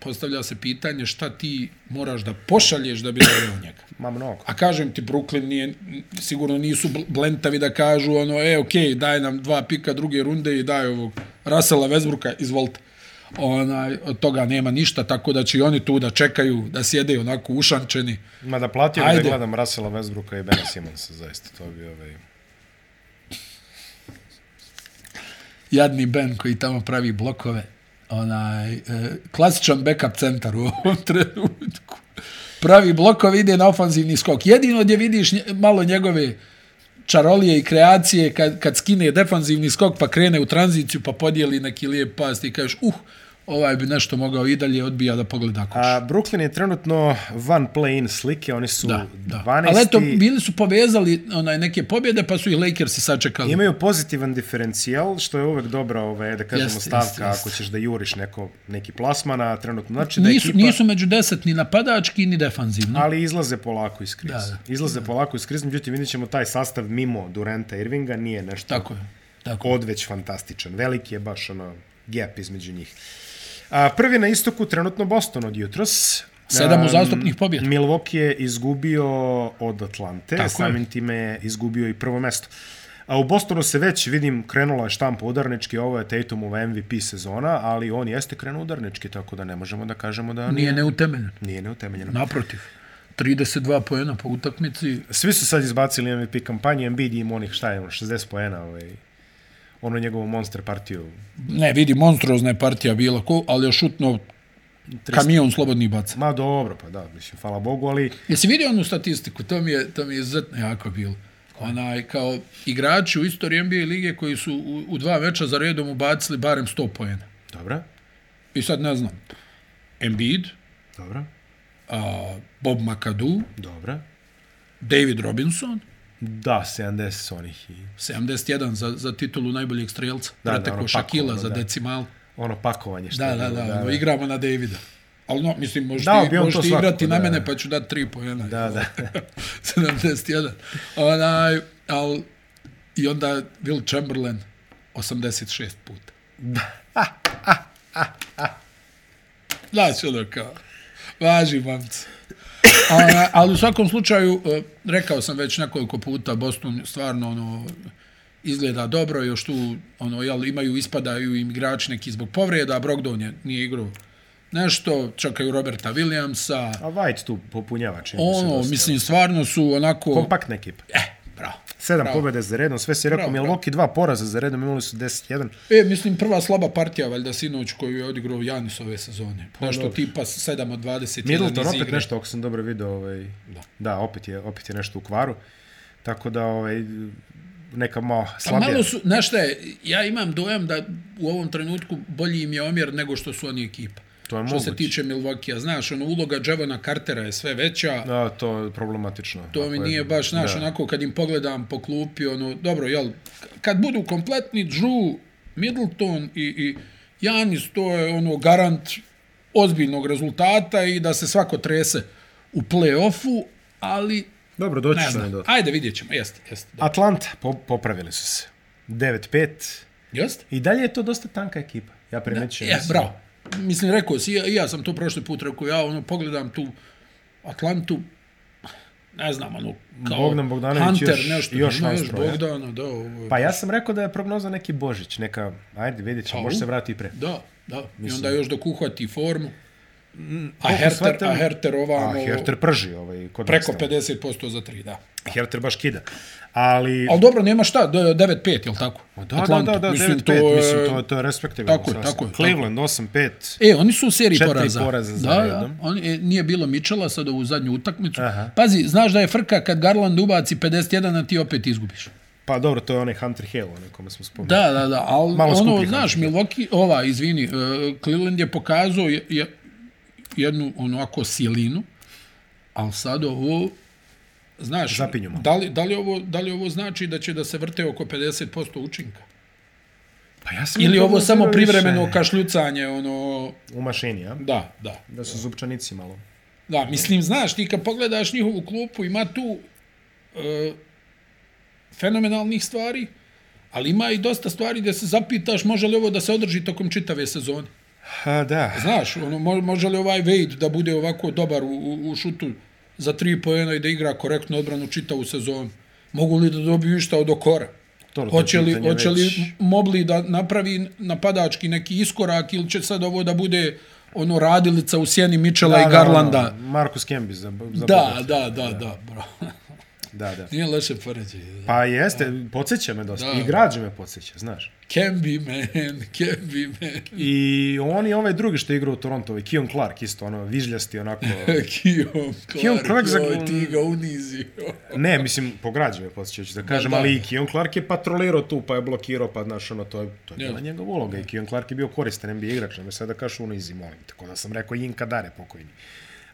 B: postavlja se pitanje šta ti moraš da pošalješ da bi doveo njega.
A: Ma mnogo.
B: A kažem ti, Brooklyn nije, sigurno nisu bl- blentavi da kažu ono, e, okej, okay, daj nam dva pika druge runde i daj ovog Rasela Vesbruka, izvolite. Onaj, od toga nema ništa, tako da će i oni tu da čekaju, da sjede onako ušančeni.
A: Ma da platio bi da
B: Ajde.
A: gledam Rasela Westbrooka i Bena Simonsa, zaista, to bi ovaj...
B: Jadni Ben koji tamo pravi blokove. Onaj, e, klasičan backup centar u ovom trenutku. Pravi blokove, ide na ofanzivni skok. Jedino gdje vidiš nje- malo njegove čarolije i kreacije kad, kad skine defanzivni skok pa krene u tranziciju pa podijeli neki lijep pas i kažeš uh, ovaj bi nešto mogao i dalje odbija da pogleda koš.
A: A Brooklyn je trenutno van play-in slike, oni su
B: Da,
A: da,
B: da.
A: 12.
B: Ali eto, bili su povezali onaj, neke pobjede pa su ih Lakersi sačekali.
A: Imaju pozitivan diferencijal, što je uvek dobra, ovaj, da kažemo,
B: Jeste,
A: stavka
B: jeste, jeste.
A: ako ćeš da juriš neko, neki plasman, a trenutno znači da
B: nisu,
A: ekipa...
B: nisu među deset ni napadački ni defanzivno.
A: Ali izlaze polako iz krize.
B: Da, da.
A: Izlaze polako iz krize, međutim vidjet ćemo taj sastav mimo Durenta Irvinga nije nešto
B: Tako je. Tako.
A: odveć fantastičan. Veliki je baš ono gap između njih. A, prvi na istoku trenutno Boston od jutros.
B: Sedam
A: Am,
B: uzastopnih pobjeda.
A: Milwaukee je izgubio od Atlante,
B: Tako je.
A: Tako samim je. time je izgubio i prvo mesto. A u Bostonu se već, vidim, krenula je štampa udarnički, ovo je Tatumova MVP sezona, ali on jeste krenuo udarnički, tako da ne možemo da kažemo da nije,
B: Nije neutemeljen.
A: nije neutemeljeno.
B: Naprotiv. 32 poena po utakmici.
A: Svi su sad izbacili MVP kampanje, Embiid im onih, šta je ono, 60 poena, ovaj, ono njegovu monster partiju.
B: Ne, vidi, monstruozna je partija bila, ko, ali je šutno kamion slobodnih baca.
A: Ma dobro, pa da, mislim, hvala Bogu, ali
B: Jesi vidio onu statistiku? To mi je, to mi je izuzetno jako bilo. Onaj, kao igrači u istoriji NBA lige koji su u, u dva veča za redom ubacili barem 100 poena.
A: dobro,
B: I sad ne znam. Embiid,
A: dobro,
B: a, Bob McAdoo,
A: dobro.
B: David Robinson,
A: Da, 70 s onih i
B: 71 za, za titulu najboljeg strelca. Da,
A: Da, da,
B: Prateko da,
A: ono
B: Šakila
A: pakovno,
B: za
A: da.
B: decimal.
A: ono pakovanje što
B: Da,
A: je
B: da, ono
A: bilo,
B: da, da, igramo na Davida. Ali no, mislim, možeš
A: Dao
B: ti,
A: bi on
B: možeš
A: to
B: ti
A: svakako,
B: igrati na
A: da,
B: mene,
A: da.
B: pa ću dati tri pojena.
A: Da, da.
B: 71. Onaj, al, I onda Will Chamberlain 86 puta. Ah, Znači, ah. ono kao, važi, mamci. A, ali u svakom slučaju, e, rekao sam već nekoliko puta, Boston stvarno ono, izgleda dobro, još tu ono, jel, imaju, ispadaju im igrači neki zbog povreda, Brogdon je, nije igrao nešto, čekaju Roberta Williamsa,
A: A White tu popunjava čini mi se
B: ono,
A: dosta.
B: mislim, stvarno su onako...
A: Kompaktna ekipa.
B: Eh, bravo.
A: Sedam
B: bravo.
A: pobjede za redom, sve si rekao,
B: Bravo, bravo.
A: Milwaukee dva poraza za redom, imali su 10-1.
B: E, mislim, prva slaba partija, valjda, sinoć koju je odigrao Janis ove sezone. Nešto
A: Pa dobro.
B: tipa 7 od 20.
A: Middleton opet igre. nešto, ako sam dobro vidio, ovaj, da. da, opet je, opet je nešto u kvaru. Tako da, ovaj, neka malo
B: Pa
A: slabija.
B: malo su, znaš šta je, ja imam dojam da u ovom trenutku bolji im je omjer nego što su oni ekipa.
A: To je
B: što se
A: moguće.
B: tiče Milwaukee-a, znaš, ono, uloga Javona Cartera je sve veća,
A: Da, to je problematično.
B: to mi
A: Ako je-
B: nije baš, znaš,
A: da.
B: onako kad im pogledam po klupi, ono, dobro, jel, kad budu kompletni Drew, Middleton i, i Janis, to je ono garant ozbiljnog rezultata i da se svako trese u play-offu, ali,
A: Dobro, doći
B: ne
A: ću
B: znam,
A: do...
B: ajde vidjet ćemo, jeste, jeste, da.
A: Atlanta, po, popravili su se. 9-5.
B: jeste?
A: I dalje je to dosta tanka ekipa. Ja primećujem.
B: Je, bravo. Mislim, rekao si, ja, i ja sam to prošli put rekao, ja ono, pogledam tu Atlantu, ne znam, ono, kao
A: Bogdan Bogdanović
B: Hunter,
A: još-
B: nešto,
A: još
B: ima još
A: Hansbrough, ja.
B: Bogdana, da, ovo,
A: Pa ja sam rekao da je prognoza neki Božić, neka, ajde, vidjet ćemo, može se vratiti i pre.
B: da, da, i onda još dok uhvati formu, a
A: Mm, koliko
B: Herter,
A: shvatam-
B: a Herter
A: A
B: ovamo,
A: Herter prži ovaj kod
B: preko
A: nas tamo.
B: 50% za 3, da.
A: Herter baš kida. Ali,
B: Ali dobro, nema šta, do- 9-5, jel tako?
A: da,
B: Atlantu.
A: da, da, da,
B: Mislim,
A: 9-5,
B: to je-
A: mislim, to, je- to je respektabilno.
B: Tako je,
A: sasvim.
B: tako je, tako je.
A: Cleveland 8-5,
B: E, oni su u seriji
A: Četiri
B: poraza.
A: poraza za
B: da, da.
A: redom.
B: On, e, nije bilo Mičela sad ovu zadnju utakmicu. Aha.
A: Aha.
B: Pazi, znaš da je frka kad Garland ubaci 51, a ti opet izgubiš.
A: pa dobro, to je onaj Hunter Hill, onaj kome smo spomenuli.
B: Da, da, da, ali
A: Malo skuplji
B: ono,
A: Hunter.
B: znaš, Milwaukee, ova, izvini, uh, Cleveland je pokazao je, je, jednu onako silinu, ali sad ovo, znaš,
A: Zapinju malo.
B: da li, da, li ovo, da li ovo znači da će da se vrte oko 50% učinka?
A: Pa ja sam
B: Ili
A: to
B: ovo samo
A: više
B: privremeno kašljucanje, ono,
A: U mašini, ja?
B: da, da.
A: Da su zupčanici malo.
B: Da, mislim, znaš, ti kad pogledaš njihovu klupu, ima tu e, fenomenalnih stvari, ali ima i dosta stvari gdje se zapitaš može li ovo da se održi tokom čitave sezone.
A: Ha, da.
B: Znaš, ono, mo- može li ovaj Wade da bude ovako dobar u, u, u šutu za tri pojena i da igra korektno odbranu čitavu sezonu? Mogu li da dobiju išta od okora?
A: Dobro, to je
B: Hoće li,
A: pitanje
B: hoće
A: već.
B: li Mobli da napravi napadački neki iskorak ili će sad ovo da bude ono radilica u sjeni Michela i Garlanda?
A: ono, Marcus Kembis za, za
B: Da, da, da, da, bro.
A: da, da.
B: Nije loše poređenje.
A: Pa jeste, podsjeća me dosta.
B: Da.
A: I građe me podsjeća, znaš.
B: Can be man, can be man.
A: I on i ovaj drugi što igra u Toronto, ovaj Kion Clark, isto ono, vižljasti onako.
B: Kijom
A: Kijom Clark
B: Clark, Clark
A: za-
B: joj, ti ga unizio.
A: Ne, mislim, po građe me podsjeća, ću da kažem,
B: da.
A: ali i Kion Clark je patrolirao tu, pa je blokirao, pa znaš, ono, to je, to je
B: Ja.
A: bila njegova uloga. I Kion Clark je bio koristan NBA igrač, ne me sada kaš unizi, molim, tako da sam rekao Jinka Dare pokojni.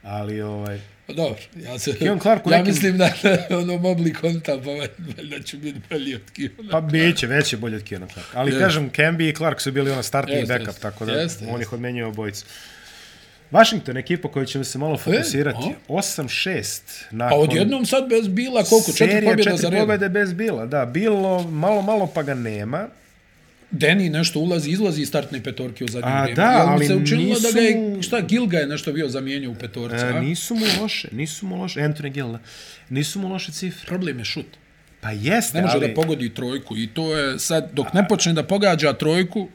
A: Ali, ovaj,
B: Pa Dobro, ja se...
A: Kijom Clark u
B: ja
A: nekim-
B: mislim da, da ono mobli konta, pa valjda ću biti bolji od Kijona.
A: Pa biće, već je bolje od Kiona Clarka. Ali
B: Jest.
A: kažem, Camby i Clark su bili ono startni
B: Jest,
A: i backup,
B: jest.
A: tako da
B: Jest,
A: on
B: jest.
A: ih odmenjuje obojicu. Washington, ekipa koju ćemo se malo fokusirati,
B: E, a?
A: 8-6
B: Pa
A: nakon...
B: odjednom sad bez Bila koliko? Četiri
A: serija
B: pobjeda za
A: četiri
B: redom.
A: pobjede bez bila, da. Bilo malo, malo pa ga nema.
B: Deni nešto ulazi, izlazi iz startne petorke u zadnje
A: A,
B: vrijeme.
A: da,
B: Jel mu
A: ali
B: se učinilo da ga je...
A: nisu-
B: Šta, Gilga je nešto bio zamijenio u petorci,
A: E,
B: a?
A: nisu mu loše, nisu mu loše. Anthony Gill, da. Nisu mu loše cifre.
B: Problem je šut.
A: Pa jeste,
B: Ne može
A: ali...
B: da pogodi trojku i to je sad, dok ne počne da pogađa trojku,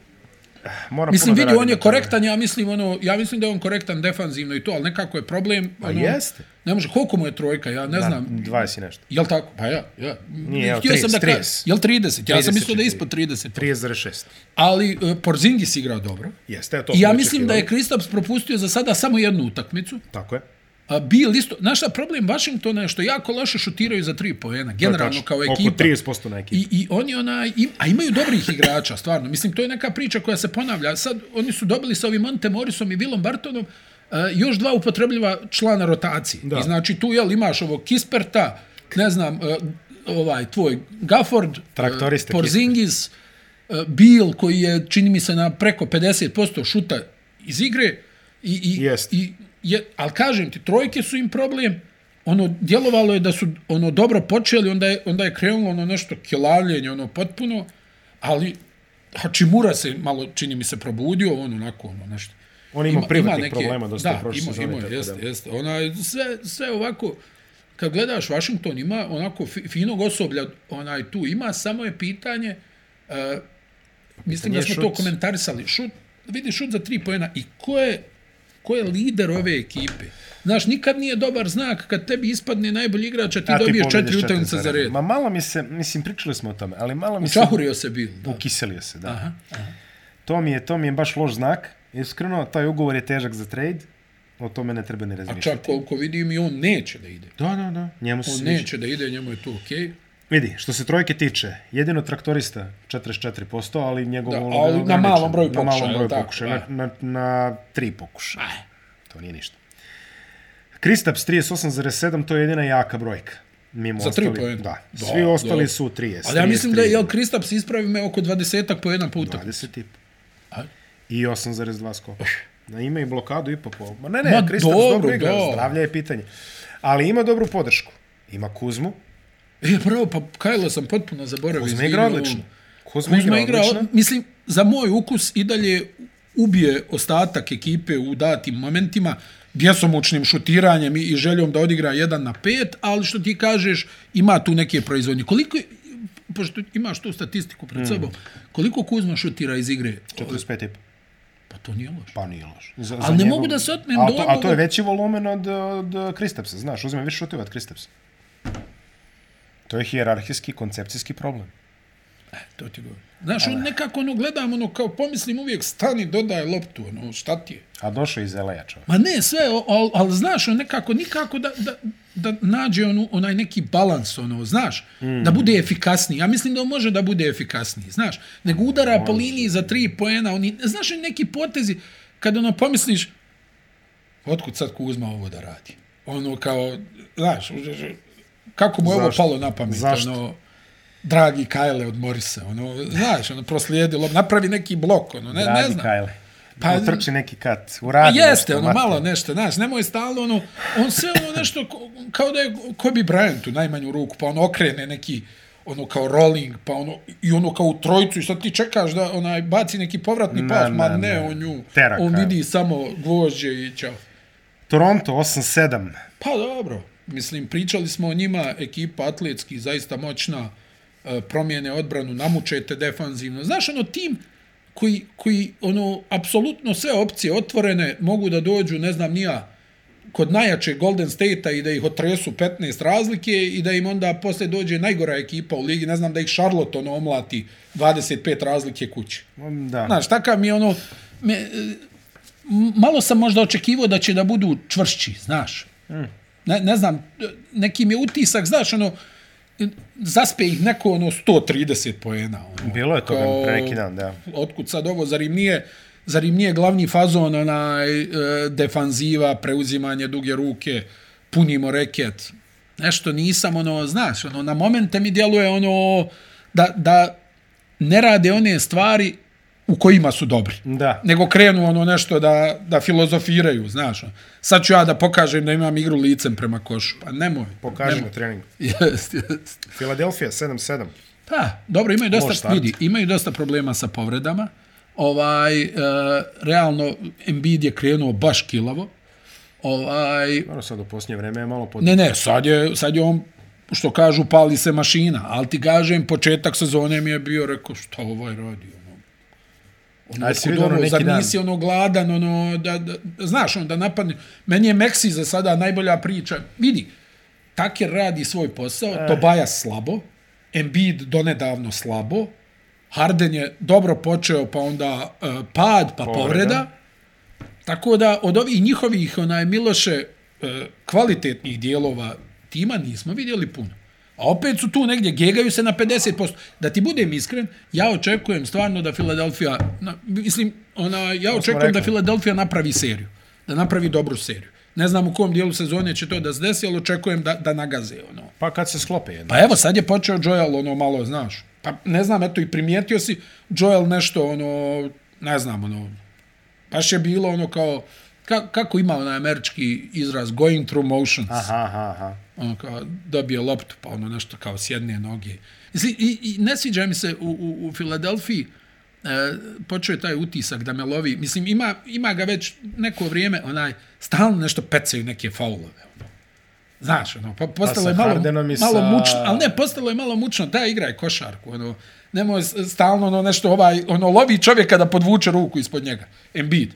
A: moram
B: Mislim,
A: puno Pa da
B: vidi,
A: radim
B: on je
A: na tome.
B: korektan, ja mislim, ono, ja mislim da je on korektan defanzivno i to, ali nekako je problem.
A: Pa
B: ono,
A: jeste.
B: Ne može, koliko mu je trojka, ja ne znam.
A: 20 i nešto.
B: Jel tako? Pa ja, ja.
A: Nije, evo,
B: Htio sam
A: 30,
B: da kažem-
A: 30.
B: Jel 30? Ja
A: 30,
B: sam mislio da je
A: 30.
B: ispod 30.
A: 30,6.
B: Ali e, Porzingis igra dobro.
A: Jeste, evo, to
B: I
A: smo
B: ja mislim da je
A: očekivali.
B: Kristaps propustio za sada samo jednu utakmicu.
A: Tako je.
B: A Bill isto, znaš šta, problem Washingtona je što jako loše šutiraju za tri poena,
A: To je
B: generalno
A: tačno.
B: kao ekipa.
A: Oko 30% na ekipu.
B: I, i oni onaj, im, a imaju dobrih igrača, stvarno. Mislim, to je neka priča koja se ponavlja. Sad, oni su dobili sa ovim Monte Morrisom i Willom Bartonom uh, još dva upotrebljiva člana rotacije.
A: Da.
B: Da. I znači, tu, jel, imaš ovog Kisperta, ne znam, uh, ovaj, tvoj Gafford,
A: Traktorista
B: uh, Porzingis, uh, Bill, koji je, čini mi se, na preko 50% šuta iz igre. I, i,
A: Jest.
B: i je, ali kažem ti, trojke su im problem, ono, djelovalo je da su ono dobro počeli, onda je, onda je krenulo ono nešto kjelavljenje, ono potpuno, ali Hachimura se malo, čini mi se, probudio, on onako, ono, nešto.
A: On ima, privatnih problema dosta
B: da,
A: u prošle
B: ima,
A: sezone.
B: ima,
A: tako
B: jeste,
A: da-
B: jeste. Ona, je sve, sve ovako, kad gledaš Washington, ima onako fi, finog osoblja, onaj tu ima, samo je pitanje, uh, mislim
A: pitanje
B: da
A: je
B: smo
A: šut.
B: to komentarisali, šut, vidi šut za tri pojena i ko je, ko je lider ove ekipe? Znaš, nikad nije dobar znak kad tebi ispadne najbolji igrač, a ti
A: A ti
B: dobiješ
A: pobjediš
B: četiri
A: četiri
B: utakmice
A: za
B: za red.
A: redom. Ma malo mi se, mislim, pričali smo o tome, ali malo mi se...
B: Čahurio se bil, da.
A: Ukiselio se, da.
B: Aha.
A: To mi je, to mi je baš loš znak. Iskreno, taj ugovor je težak za trade. O tome ne treba ni
B: A
A: razmišljati.
B: čak koliko vidim i on neće da ide.
A: Da, da, da. Njemu se
B: On
A: sviđa.
B: neće da ide, njemu je to okej. Okay.
A: Vidi, što se trojke tiče, jedino traktorista 44%, ali njegov...
B: Da,
A: ono,
B: ali na
A: ograničen.
B: malom broju
A: Na
B: pokušaja,
A: malom
B: jel
A: broju
B: tako?
A: pokušaja,
B: Da.
A: na, na, na tri pokušaja.
B: Aj.
A: To nije ništa. Kristaps 38,7, to je jedina jaka brojka. Mimo
B: Za tri
A: ostali-
B: poena?
A: Da,
B: Da,
A: svi ostali
B: da.
A: su 30.
B: Ali ja mislim da je,
A: 33.
B: jel, Kristaps ispravi me oko 20 po jedan puta.
A: 20 i
B: A? Eh.
A: I 8,2 skoka. Na ime i blokadu i po po. Ma ne, ne,
B: Ma
A: Kristaps
B: dobro,
A: dobro, igra,
B: da.
A: zdravlja je pitanje. Ali ima dobru podršku. Ima Kuzmu,
B: E, bravo, pa Kajla sam potpuno zaboravio.
A: Kuzma
B: izvini,
A: igra
B: ovo.
A: odlično. Kuzma,
B: Kuzma igra,
A: odlično.
B: mislim, za moj ukus i dalje ubije ostatak ekipe u datim momentima bjesomučnim šutiranjem i, i željom da odigra 1 na 5, ali što ti kažeš, ima tu neke proizvodnje. Koliko, je- pošto imaš tu statistiku
A: Hmm.
B: pred sobom, koliko Kuzma šutira iz igre?
A: 45 i po.
B: Pa to nije loše.
A: Pa nije loš. Za,
B: Ali ne mogu da se otmem
A: a to,
B: dojmu-
A: a to je veći volumen od, od Kristapsa, znaš, uzme više šuteva od Kristapsa. To je hijerarhijski, koncepcijski problem.
B: E, To ti govorim. Znaš, on nekako ono, gledam, ono, kao pomislim uvijek, stani, dodaj loptu, ono, šta ti je?
A: A došao je iz Eleja čovjek.
B: Ma ne, sve, ali al, znaš, on nekako, nikako da, da, da nađe onu, onaj neki balans, ono, znaš, mm. da bude efikasniji. Ja mislim da on može da bude efikasniji, znaš. Nego udara po liniji za tri poena, oni, znaš, oni neki potezi, kad ono pomisliš, otkud sad Kuzma ovo da radi? Ono, kao, znaš, uže- uže- kako mu je ovo
A: Zašto?
B: palo na pamet,
A: Zašto?
B: ono, dragi Kajle od Morisa, ono, znaš, ono, proslijedi, lob, napravi neki blok, ono, ne, ne
A: Dragi
B: znam.
A: Kajle. Pa,
B: Pa-
A: trči neki kat, uradi
B: Pa jeste,
A: nešto,
B: ono,
A: mate.
B: malo nešto, znaš, nemoj stalno, ono, on sve ono nešto, ko- kao da je Kobe Bryant u najmanju ruku, pa ono okrene neki, ono kao rolling, pa ono, i ono kao u trojcu, i sad ti čekaš da onaj baci neki povratni
A: Na,
B: pas, ma
A: na,
B: ne,
A: na.
B: on nju,
A: Teraka.
B: on vidi samo gvožđe i čao.
A: Toronto 8-7.
B: Pa dobro, mislim, pričali smo o njima, ekipa atletski, zaista moćna, e, promijene odbranu, namučete defanzivno. Znaš, ono, tim koji, koji ono, apsolutno sve opcije otvorene mogu da dođu, ne znam, nija, kod najjače Golden State-a i da ih otresu 15 razlike i da im onda posle dođe najgora ekipa u ligi, ne znam, da ih Charlotte ono omlati 25 razlike kući.
A: Mm, Da.
B: Znaš, takav mi je ono... Me, e, m- malo sam možda očekivao da će da budu čvršći, znaš.
A: Mm.
B: Ne, ne znam, e, neki mi je utisak, znaš, ono, e, zaspe ih neko ono 130 poena. Ono,
A: Bilo je toga
B: Kao-
A: pre neki dan, da.
B: Otkud sad ovo, zar im nije, zar im nije glavni fazon onaj e, defanziva, preuzimanje duge ruke, punimo reket. Nešto nisam, ono, znaš, ono, na momente mi djeluje ono da, da ne rade one stvari u kojima su dobri.
A: Da.
B: Nego krenu ono nešto da, da filozofiraju, znaš. ono. Sad ću ja da pokažem da imam igru licem prema košu. Pa nemoj.
A: Pokaži na treningu.
B: Jest, jest.
A: Filadelfija 7-7.
B: Pa, dobro, imaju
A: Može
B: dosta,
A: start.
B: vidi, imaju dosta problema sa povredama. Ovaj, e, realno, Embiid je krenuo baš kilavo. Ovaj,
A: Ono sad u posljednje vreme je malo pod...
B: ne, ne, sad je, sad je on, što kažu, pali se mašina. Ali ti kažem, početak sezone mi je bio, rekao, šta ovaj radi? Ono, ono,
A: Aj, si
B: otkud
A: vidio ono
B: ono,
A: neki
B: zar
A: dan?
B: nisi ono gladan, ono, da, da, znaš, ono, da napadne. Meni je Meksi za sada najbolja priča. Vidi, Taker radi svoj posao, e. Tobias slabo, Embiid donedavno slabo, Harden je dobro počeo, pa onda uh, pad, pa povreda.
A: Povreda.
B: povreda. Tako da od ovih njihovih, onaj Miloše, e, kvalitetnih dijelova tima nismo vidjeli puno. A opet su tu negdje, gegaju se na 50%. Da ti budem iskren, ja očekujem stvarno da Filadelfija, na, mislim, ona, ja očekujem
A: rekli.
B: da Filadelfija napravi seriju. Da napravi dobru seriju. Ne znam u kom dijelu sezone će to da se desi, ali očekujem da, da nagaze ono.
A: Pa kad se sklope jedno.
B: Pa evo, sad je počeo Joel ono malo, znaš. Pa ne znam, eto i primijetio si Joel nešto ono, ne znam, ono, baš je bilo ono kao, ka, kako ima onaj američki izraz, going through motions. Aha.
A: Aha, aha, aha.
B: Ono kao, dobije loptu, pa ono nešto kao sjedne noge. Mislim, i, i ne sviđa mi se u, u, u Filadelfiji, e, počeo je taj utisak da me lovi. Mislim, ima, ima ga već neko vrijeme, onaj, stalno nešto pecaju neke faulove. Ono. Znaš, ono, pa postalo
A: sa
B: je malo,
A: Hardenom i
B: malo
A: sa-
B: mučno, ali ne, postalo je malo mučno, da, igra je košarku, ono, nemoj s- stalno ono nešto ovaj, ono, lovi čovjeka da podvuče ruku ispod njega, Embiid.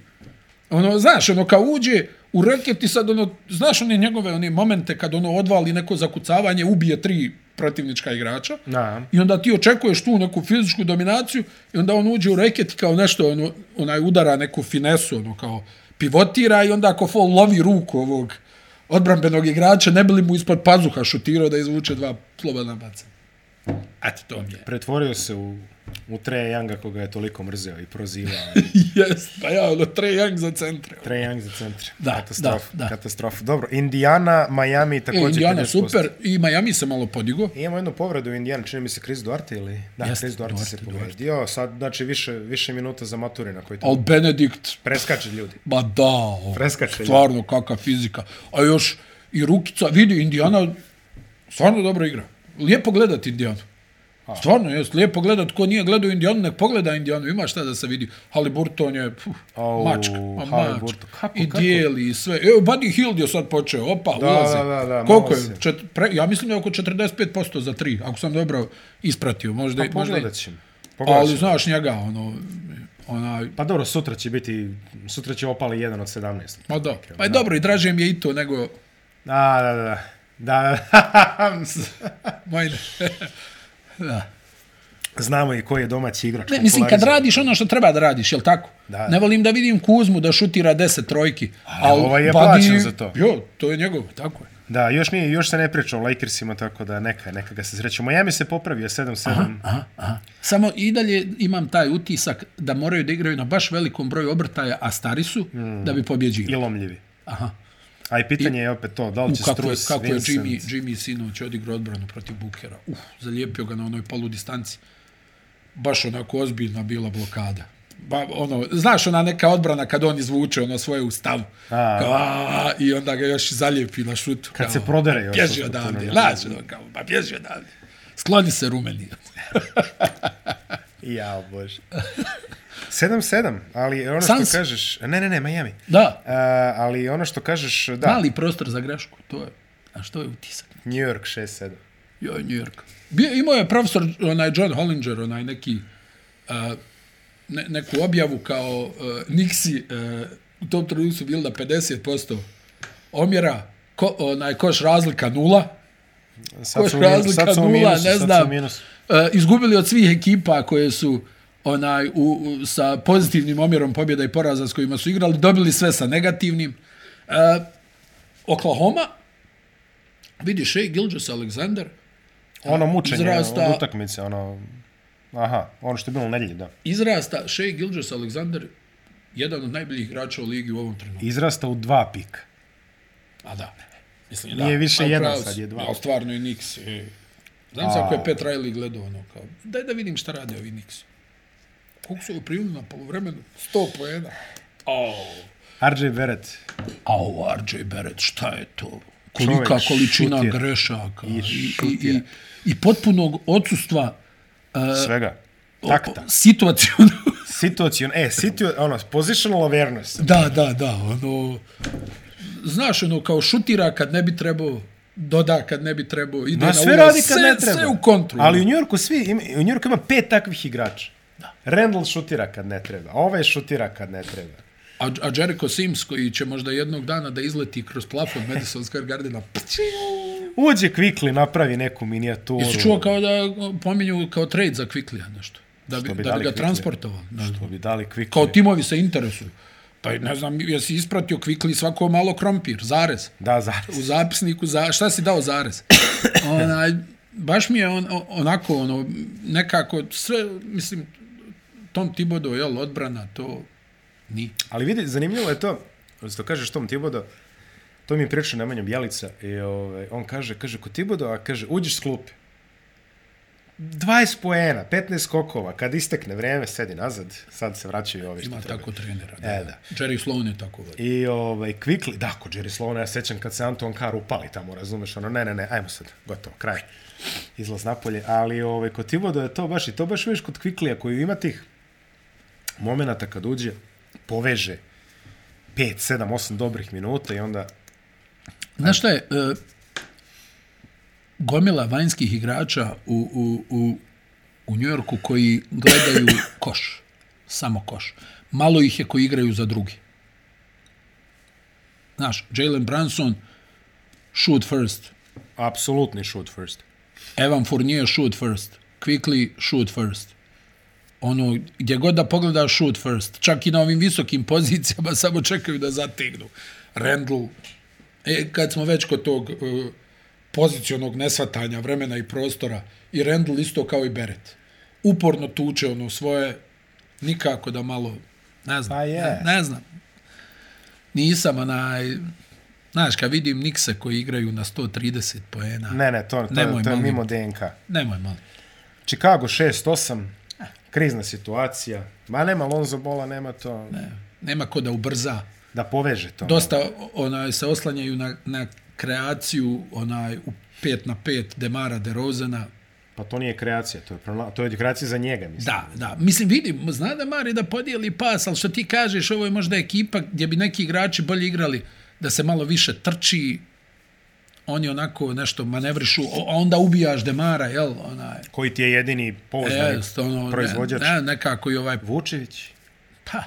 B: Ono, znaš, ono, kao uđe u reket i sad, ono, znaš one njegove one momente kad ono odvali neko zakucavanje, ubije tri protivnička igrača,
A: Da.
B: I onda ti očekuješ tu neku fizičku dominaciju i onda on uđe u reket i kao nešto, ono, onaj udara neku finesu, ono kao pivotira i onda ako fol lovi ruku ovog odbrambenog igrača, ne bi li mu ispod pazuha šutirao da izvuče dva slobodna baca. Eto, to mi je.
A: Pretvorio se u, u Treja Younga koga je toliko mrzeo i prozivao.
B: Jes, pa ja, ono, Trae Young za centre. E,
A: Trae Young za centre.
B: Da,
A: katastrofa,
B: da, da.
A: Katastrofa. Dobro, Indiana, Miami
B: E,
A: također.
B: Indiana
A: 50%.
B: super i Miami se malo podigo.
A: I Imamo jednu povredu u Indijani, čini mi se Chris Duarte ili? Da,
B: Jeste,
A: Chris Duarte, se
B: Duarte,
A: povredio. Sad, znači, više, više minuta za Maturina koji to
B: Al Benedikt,
A: preskače ljudi.
B: ba da, o,
A: Preskače,
B: stvarno kakva fizika. A još i Rukica, vidi, Indiana stvarno dobro igra. Lijepo gledat Indijanu. Stvarno, jest, lijepo gledat. Ko nije gledao Indijanu, nek pogleda Indijanu. Ima šta da se vidi. Haliburton je puf,
A: Au,
B: mačka. Ma, mačka.
A: Haliburton. Kako,
B: I
A: kako?
B: dijeli i sve. Evo, Buddy Hield je sad počeo. Opa,
A: Da,
B: ulazi.
A: da, da, da,
B: Koliko
A: malo
B: je?
A: se.
B: Čet, pre, ja mislim da je oko 45% za tri. Ako sam dobro ispratio. Možda,
A: Pa
B: i- možda, i- Pa,
A: Pogledat ćemo. Pogledat
B: ali
A: ćemo.
B: znaš njega, ono, onaj,
A: Pa dobro, sutra će biti, sutra će opali jedan od 17.
B: Ma da. Pa je dobro, i draže mi je i to nego
A: Da, da, da. Da, da.
B: moj... da.
A: Znamo i koji je domaći igrač.
B: Ne, mislim, kad
A: popularizovan.
B: radiš ono što treba da radiš, jel tako?
A: Da.
B: Ne volim da vidim Kuzmu da šutira 10 trojki. A
A: ovaj je plaćen za to.
B: Jo, to je njegovo, tako je.
A: Da, još, nije, još se ne priča o Lakersima, tako da neka, neka ga se sreće. Miami se popravio 7-7.
B: Aha, aha. Samo i dalje imam taj utisak da moraju da igraju na baš velikom broju obrtaja, a stari su,
A: Hmm.
B: mm. da bi
A: i
B: pobjeđili.
A: lomljivi.
B: Aha.
A: A i pitanje je opet to, da
B: U,
A: li Pa će
B: kako je,
A: Strus,
B: kako je
A: Vincent...
B: Jimmy, Jimmy sinoć odigrao odbranu protiv Bukera. Uf, zalijepio ga na onoj polu distanci. Baš onako ozbiljna bila blokada. ba, ono, znaš ona neka odbrana kad on izvuče ono svoje u stavu.
A: A.
B: Kao, a, I onda ga još zalijepi na šutu.
A: Kad
B: kao,
A: se prodere još
B: Bježi
A: od
B: odavde,
A: Fortuna.
B: laži. ono, Kao, ba, bježi odavde. Skloni se rumeni.
A: Ja, bože. 7-7, ali ono
B: Suns.
A: što kažeš... Ne, ne, ne, Miami.
B: Da,
A: Uh, ali ono što kažeš, da,
B: mali prostor za grešku, to je. A što je utisak?
A: New York 6-7.
B: Joj, New York. Bio, imao je profesor, onaj John Hollinger, onaj neki, a, ne, neku objavu kao uh, Nixi, uh, u tom trenutku su bili na 50% omjera, ko, onaj koš razlika nula,
A: Sad
B: koš
A: su u minusu,
B: razlika
A: sad su u
B: nula,
A: minusu,
B: ne
A: sad su u
B: znam,
A: minusu.
B: uh, izgubili od svih ekipa koje su onaj u, u, sa pozitivnim omjerom pobjeda i poraza s kojima su igrali, dobili sve sa negativnim. Uh, Oklahoma, vidiš, Shea Gilgis Alexander,
A: Ono mučenje,
B: izrasta-
A: izrasta... utakmice, ono... Aha, ono što je bilo u nedjelji, da.
B: izrasta Shea Gilgis Alexander jedan od najboljih igrača u ligi u ovom trenutku.
A: Izrasta u dva pika.
B: A da. Mislim,
A: Nije više
B: A
A: jedan,
B: upravo
A: sad
B: si.
A: je dva.
B: Ja, stvarno i Nix. e. Znam se
A: A.
B: ako je Pet Riley gledao ono kao, daj da vidim šta rade ovi Nix. Koliko su ovo primili na polovremenu? 100 poena. Au.
A: RJ Barrett
B: Au, RJ Barrett, šta je to? Kolika
A: Čovjek
B: količina
A: šutira.
B: grešaka. I, i,
A: šutira.
B: i, i potpunog odsustva
A: svega.
B: o-
A: Takta.
B: o- situacionog
A: Situacion, e, situ, ono, positional awareness.
B: Da, da, da, ono, znaš, ono, kao šutira kad ne bi trebao, doda kad ne bi trebao, ide
A: Na
B: na,
A: sve
B: ulaz,
A: radi kad
B: sve,
A: ne treba.
B: Sve u kontru.
A: Ali u Njorku svi, im, u Njorku ima pet takvih igrača. Da. Randall šutira kad ne treba, ovaj šutira kad ne treba.
B: A, a Jericho Sims, koji će možda jednog dana da izleti kroz plafon Madison Square Gardena,
A: Uđe Quickly, napravi neku minijaturu.
B: jesi čuo kao da pominju kao trade za Quickly nešto. Da bi,
A: bi
B: da
A: dali
B: bi ga
A: Quicklya.
B: transportovao. Da.
A: Što bi dali Quickly.
B: Kao timovi se interesuju. Pa ne znam, jesi ispratio Quickly svako malo krompir, zarez.
A: Da, za.
B: u zapisniku za šta si dao zarez. Onaj baš mi je on, o- onako ono nekako sve mislim Tom Tibodo je odbrana to ni.
A: Ali vidi, zanimljivo je to, što kažeš tom Tibodo, to mi je pričao Nemanja Bjelica i ovaj, on kaže, kaže, kod Tibodo, a kaže, uđeš s klupe. 20 poena, 15 skokova, kad istekne vreme, sedi nazad, sad se vraćaju ovi što
B: Ima
A: treba.
B: tako trenera.
A: E, da.
B: Jerry Sloan je tako vodio.
A: I ovaj, Quickly, da, kod Jerry Slovana, ja sećam kad se Anton Carr upali tamo, razumeš, ono, ne, ne, ne, ajmo sad, gotovo, kraj, izlaz napolje, ali ovaj, kod Tibodo je to baš, i to baš vidiš kod Quicklya koji ima tih momenata kad uđe, poveže 5, 7, 8 dobrih minuta i onda
B: Znaš šta je, e, gomila vanjskih igrača u, u, u, u Njujorku koji gledaju koš, samo koš. Malo ih je koji igraju za drugi. Znaš, Jalen Branson, shoot first.
A: apsolutni shoot first.
B: Evan Fournier, shoot first. Quickly, shoot first. Ono, gdje god da pogledaš, shoot first. Čak i na ovim visokim pozicijama samo čekaju da zategnu. Randall, E, kad smo već kod tog e, pozicionog nesvatanja vremena i prostora, i Randall isto kao i Beret. Uporno tuče ono svoje, nikako da malo, ne znam,
A: Pa je.
B: ne, ne znam. Nisam onaj, znaš, kad vidim Nikse koji igraju na 130 poena,
A: Ne, ne, to, to,
B: Nemoj,
A: to je
B: molim
A: mimo DNK.
B: nemoj malo.
A: Chicago 6, 8,
B: Eh.
A: krizna situacija, ma nema Lonzo Bola, nema to, ne.
B: Nema ko da ubrza.
A: da poveže to.
B: Dosta o- onaj se oslanjaju na, na kreaciju onaj u 5 na 5 Demara DeRozana.
A: Pa to nije kreacija, to je, pronala- to je kreacija za njega, mislim.
B: Da, da. Mislim, vidim, zna Demari da podijeli pas, ali što ti kažeš, ovo je možda ekipa gdje bi neki igrači bolje igrali da se malo više trči, oni onako nešto manevrišu, o- a onda ubijaš Demara, jel? Onaj,
A: koji ti je jedini pouzdani
B: jest, ono,
A: proizvođač.
B: Ne, ne, nekako i ovaj,
A: Vučević?
B: pa,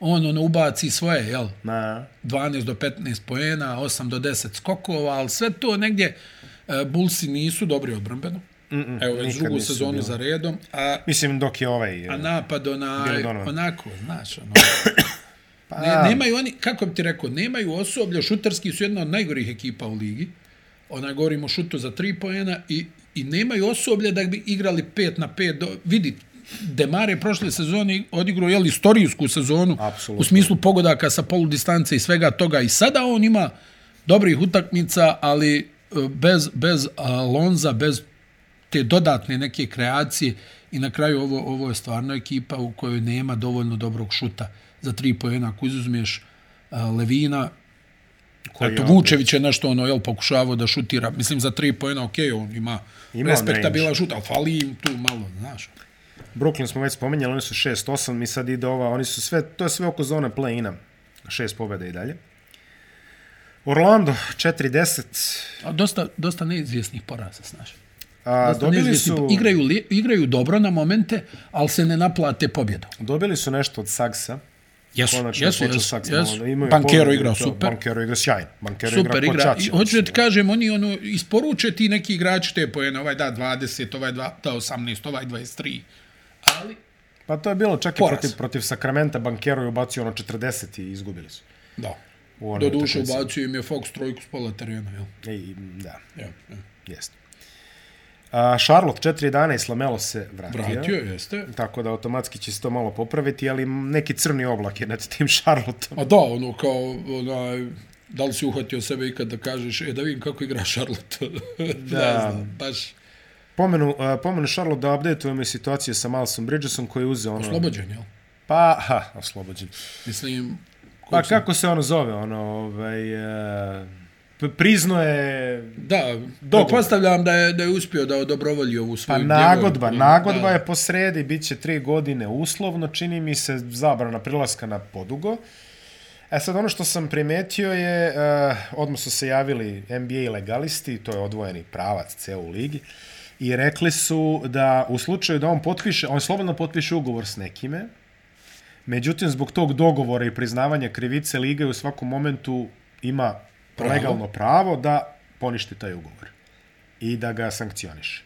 B: on ono ubaci svoje, jel?
A: Na,
B: 12 do 15 poena, 8 do 10 skokova, ali sve to negdje e, Bulsi nisu dobri odbrambeno. Mm -mm, Evo već
A: nikad
B: drugu
A: nisu
B: sezonu
A: bili.
B: za redom, a,
A: mislim dok je ovaj...
B: a
A: eh,
B: napad
A: Bill
B: onaj,
A: Donovan.
B: onako, znaš, ono,
A: pa,
B: ne, nemaju oni, kako bi ti rekao, nemaju osoblja, šuterski su jedna od najgorih ekipa u ligi, onaj govorimo o šutu za 3 poena i, i nemaju osoblja da bi igrali 5 na 5, do, vidi, Demar je prošle sezone odigrao jel, istorijsku sezonu
A: Apsolutno.
B: u smislu pogodaka sa polu distance i svega toga i sada on ima dobrih utakmica, ali e, bez, bez Alonza, bez te dodatne neke kreacije i na kraju ovo ovo je stvarno ekipa u kojoj nema dovoljno dobrog šuta za tri pojena ako izuzmeš a, Levina
A: Koji
B: Eto,
A: je
B: Vučević je nešto ono, jel, pokušavao da šutira. Mislim, za tri pojena, okej, on ima,
A: Ima on
B: ima respektabilan šut, ali fali im tu malo, znaš.
A: Brooklyn smo već spomenjali, oni su 6-8 i sad ide ova, oni su sve, to je sve oko zone play-ina. Šest pobjeda i dalje. Orlando 4-10,
B: A dosta, dosta neizvjesnih poraza, znaš.
A: a
B: Dosta
A: dobili
B: neizvjesnih
A: su,
B: po- Igraju, li, igraju dobro na momente, ali se ne naplate pobjedom.
A: dobili su nešto od Sagsa.
B: Jesu,
A: Konačno
B: jesu,
A: je počeo
B: jesu,
A: Saks malo da
B: jesu.
A: imaju
B: Bankero
A: povredu i
B: igrao
A: to.
B: super.
A: Bankero igra sjajno. Bankero
B: Super
A: igra, ko
B: igra. I
A: Čačić.
B: hoću da ti kažem, oni ono, isporuče ti neki igrači te pojene, ovaj da 20, ovaj dva, da 18, ovaj 23. Ali,
A: Pa to je bilo čak i
B: Poraz.
A: protiv, protiv Sakramenta. Bankero je ubacio ono 40 i izgubili su.
B: da.
A: U onoj
B: Do duše
A: utakmici.
B: ubacio im je Fox trojku s pola terena, jel?
A: I, da,
B: Ja, ja.
A: jeste. A, Charlotte 4-11, Lamelo se vratio.
B: Vratio je, jeste.
A: Tako da automatski će se to malo popraviti, ali neki crni oblak je nad tim Charlotteom.
B: A da, ono kao, onaj, da li si uhvatio sebe ikad da kažeš, e, da vidim kako igra Charlotte. da. ne znam, baš
A: Pomenu, a, pomenu Charlotte da updateujemo i situaciju sa Milesom Bridgesom koji je uzeo ono...
B: slobođen, jel?
A: Pa, ha, oslobođen.
B: Mislim,
A: Pa kako se ono zove, ono, ovaj... e, p- prizno je...
B: da,
A: Dogovor.
B: dok postavljam da je, da je uspio da odobrovolji ovu
A: Pa
B: svoju
A: nagodba,
B: njegovu-
A: nagodba
B: da.
A: je posredi, bit će tri godine uslovno, čini mi se zabrana prilaska na podugo. E sad ono što sam primetio je, uh, odmah su se javili NBA legalisti, to je odvojeni pravac ceo u ligi, i rekli su da u slučaju da on potpiše, on slobodno potpiše ugovor s nekime, međutim zbog tog dogovora i priznavanja krivice lige u svakom momentu ima
B: Pravo.
A: legalno pravo da poništi taj ugovor i da ga sankcioniše.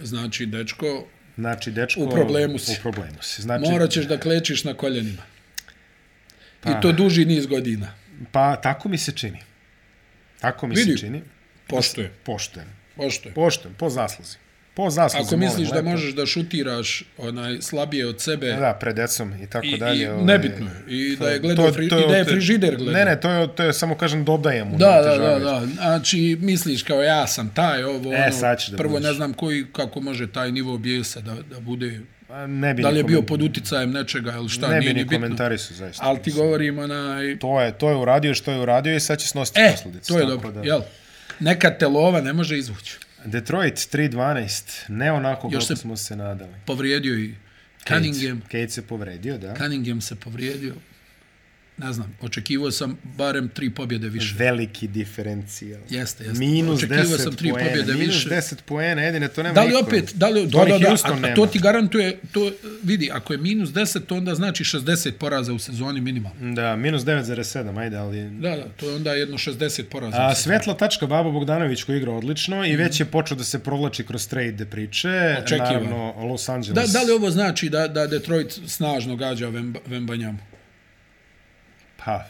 B: Znači, dečko,
A: Znači, dečko...
B: U problemu si.
A: U problemu si. Znači,
B: morat ćeš da klečiš na koljenima. Pa.
A: Pa.
B: I to duži niz godina.
A: Pa, tako mi se čini. Tako mi
B: Vidi.
A: se čini.
B: Poštuje,
A: Poštujem.
B: poštuje.
A: Poštujem, po zasluzi. Po zasluzi,
B: Ako
A: molim,
B: misliš da
A: lepo.
B: možeš da šutiraš onaj slabije od sebe,
A: Da, pred decom i tako
B: I,
A: dalje.
B: i
A: ovaj,
B: nebitno je. I da je
A: to-
B: gledao,
A: to
B: fri, i da je
A: te-
B: frižider gledao.
A: Ne, ne, to je, to je samo kažem dodajem mu.
B: Da,
A: ne
B: da, da,
A: otežavajući.
B: da. Znači, misliš kao ja sam taj, ovo,
A: E,
B: ono,
A: sad ćeš da
B: prvo
A: budeš.
B: ne znam koji, kako može taj nivo bijesa da, da bude,
A: A Ne bi
B: da li
A: ni
B: je bio
A: komen-
B: pod uticajem nečega ili šta,
A: Ne
B: nije
A: bi
B: ni
A: ni
B: bitno.
A: komentari su, zaista.
B: Ali ti govorim onaj,
A: To je, to je uradio što je uradio i sad će snositi
B: e,
A: posledice.
B: to je
A: tako
B: dobro,
A: da-
B: jel? Neka te lova ne može izvući.
A: Detroit 3-12, ne onako
B: Još
A: kako
B: se-
A: smo se nadali.
B: Povrijedio i Cunningham.
A: Kate se povredio, da.
B: Cunningham se povrijedio. Ne znam, očekivao sam barem tri pobjede više.
A: veliki diferencijal.
B: Mhm. Jeste, jeste.
A: Minus
B: Očekivao
A: 10
B: sam tri
A: poena,
B: pobjede
A: minus
B: više.
A: 10 poena, jedine, to nema
B: Da li
A: niko.
B: opet, da li, da,
A: To ni
B: da, da,
A: Houston
B: a, a
A: nema.
B: to ti garantuje, to vidi, ako je minus 10, to onda znači 60 poraza u sezoni minimalno.
A: Da, minus 9,7, ajde, ali...
B: Da, da, to je onda jedno 60 poraza.
A: A,
B: A,
A: svetla tačka Babo Bogdanović koji igra odlično i već je
B: Mhm.
A: počeo da se provlači kroz trade priče.
B: Očekivano.
A: Naravno, Los
B: da,
A: Angeles.
B: da li ovo znači da, da Detroit snažno gađa Vemba- Vembanjamu?
A: Pa,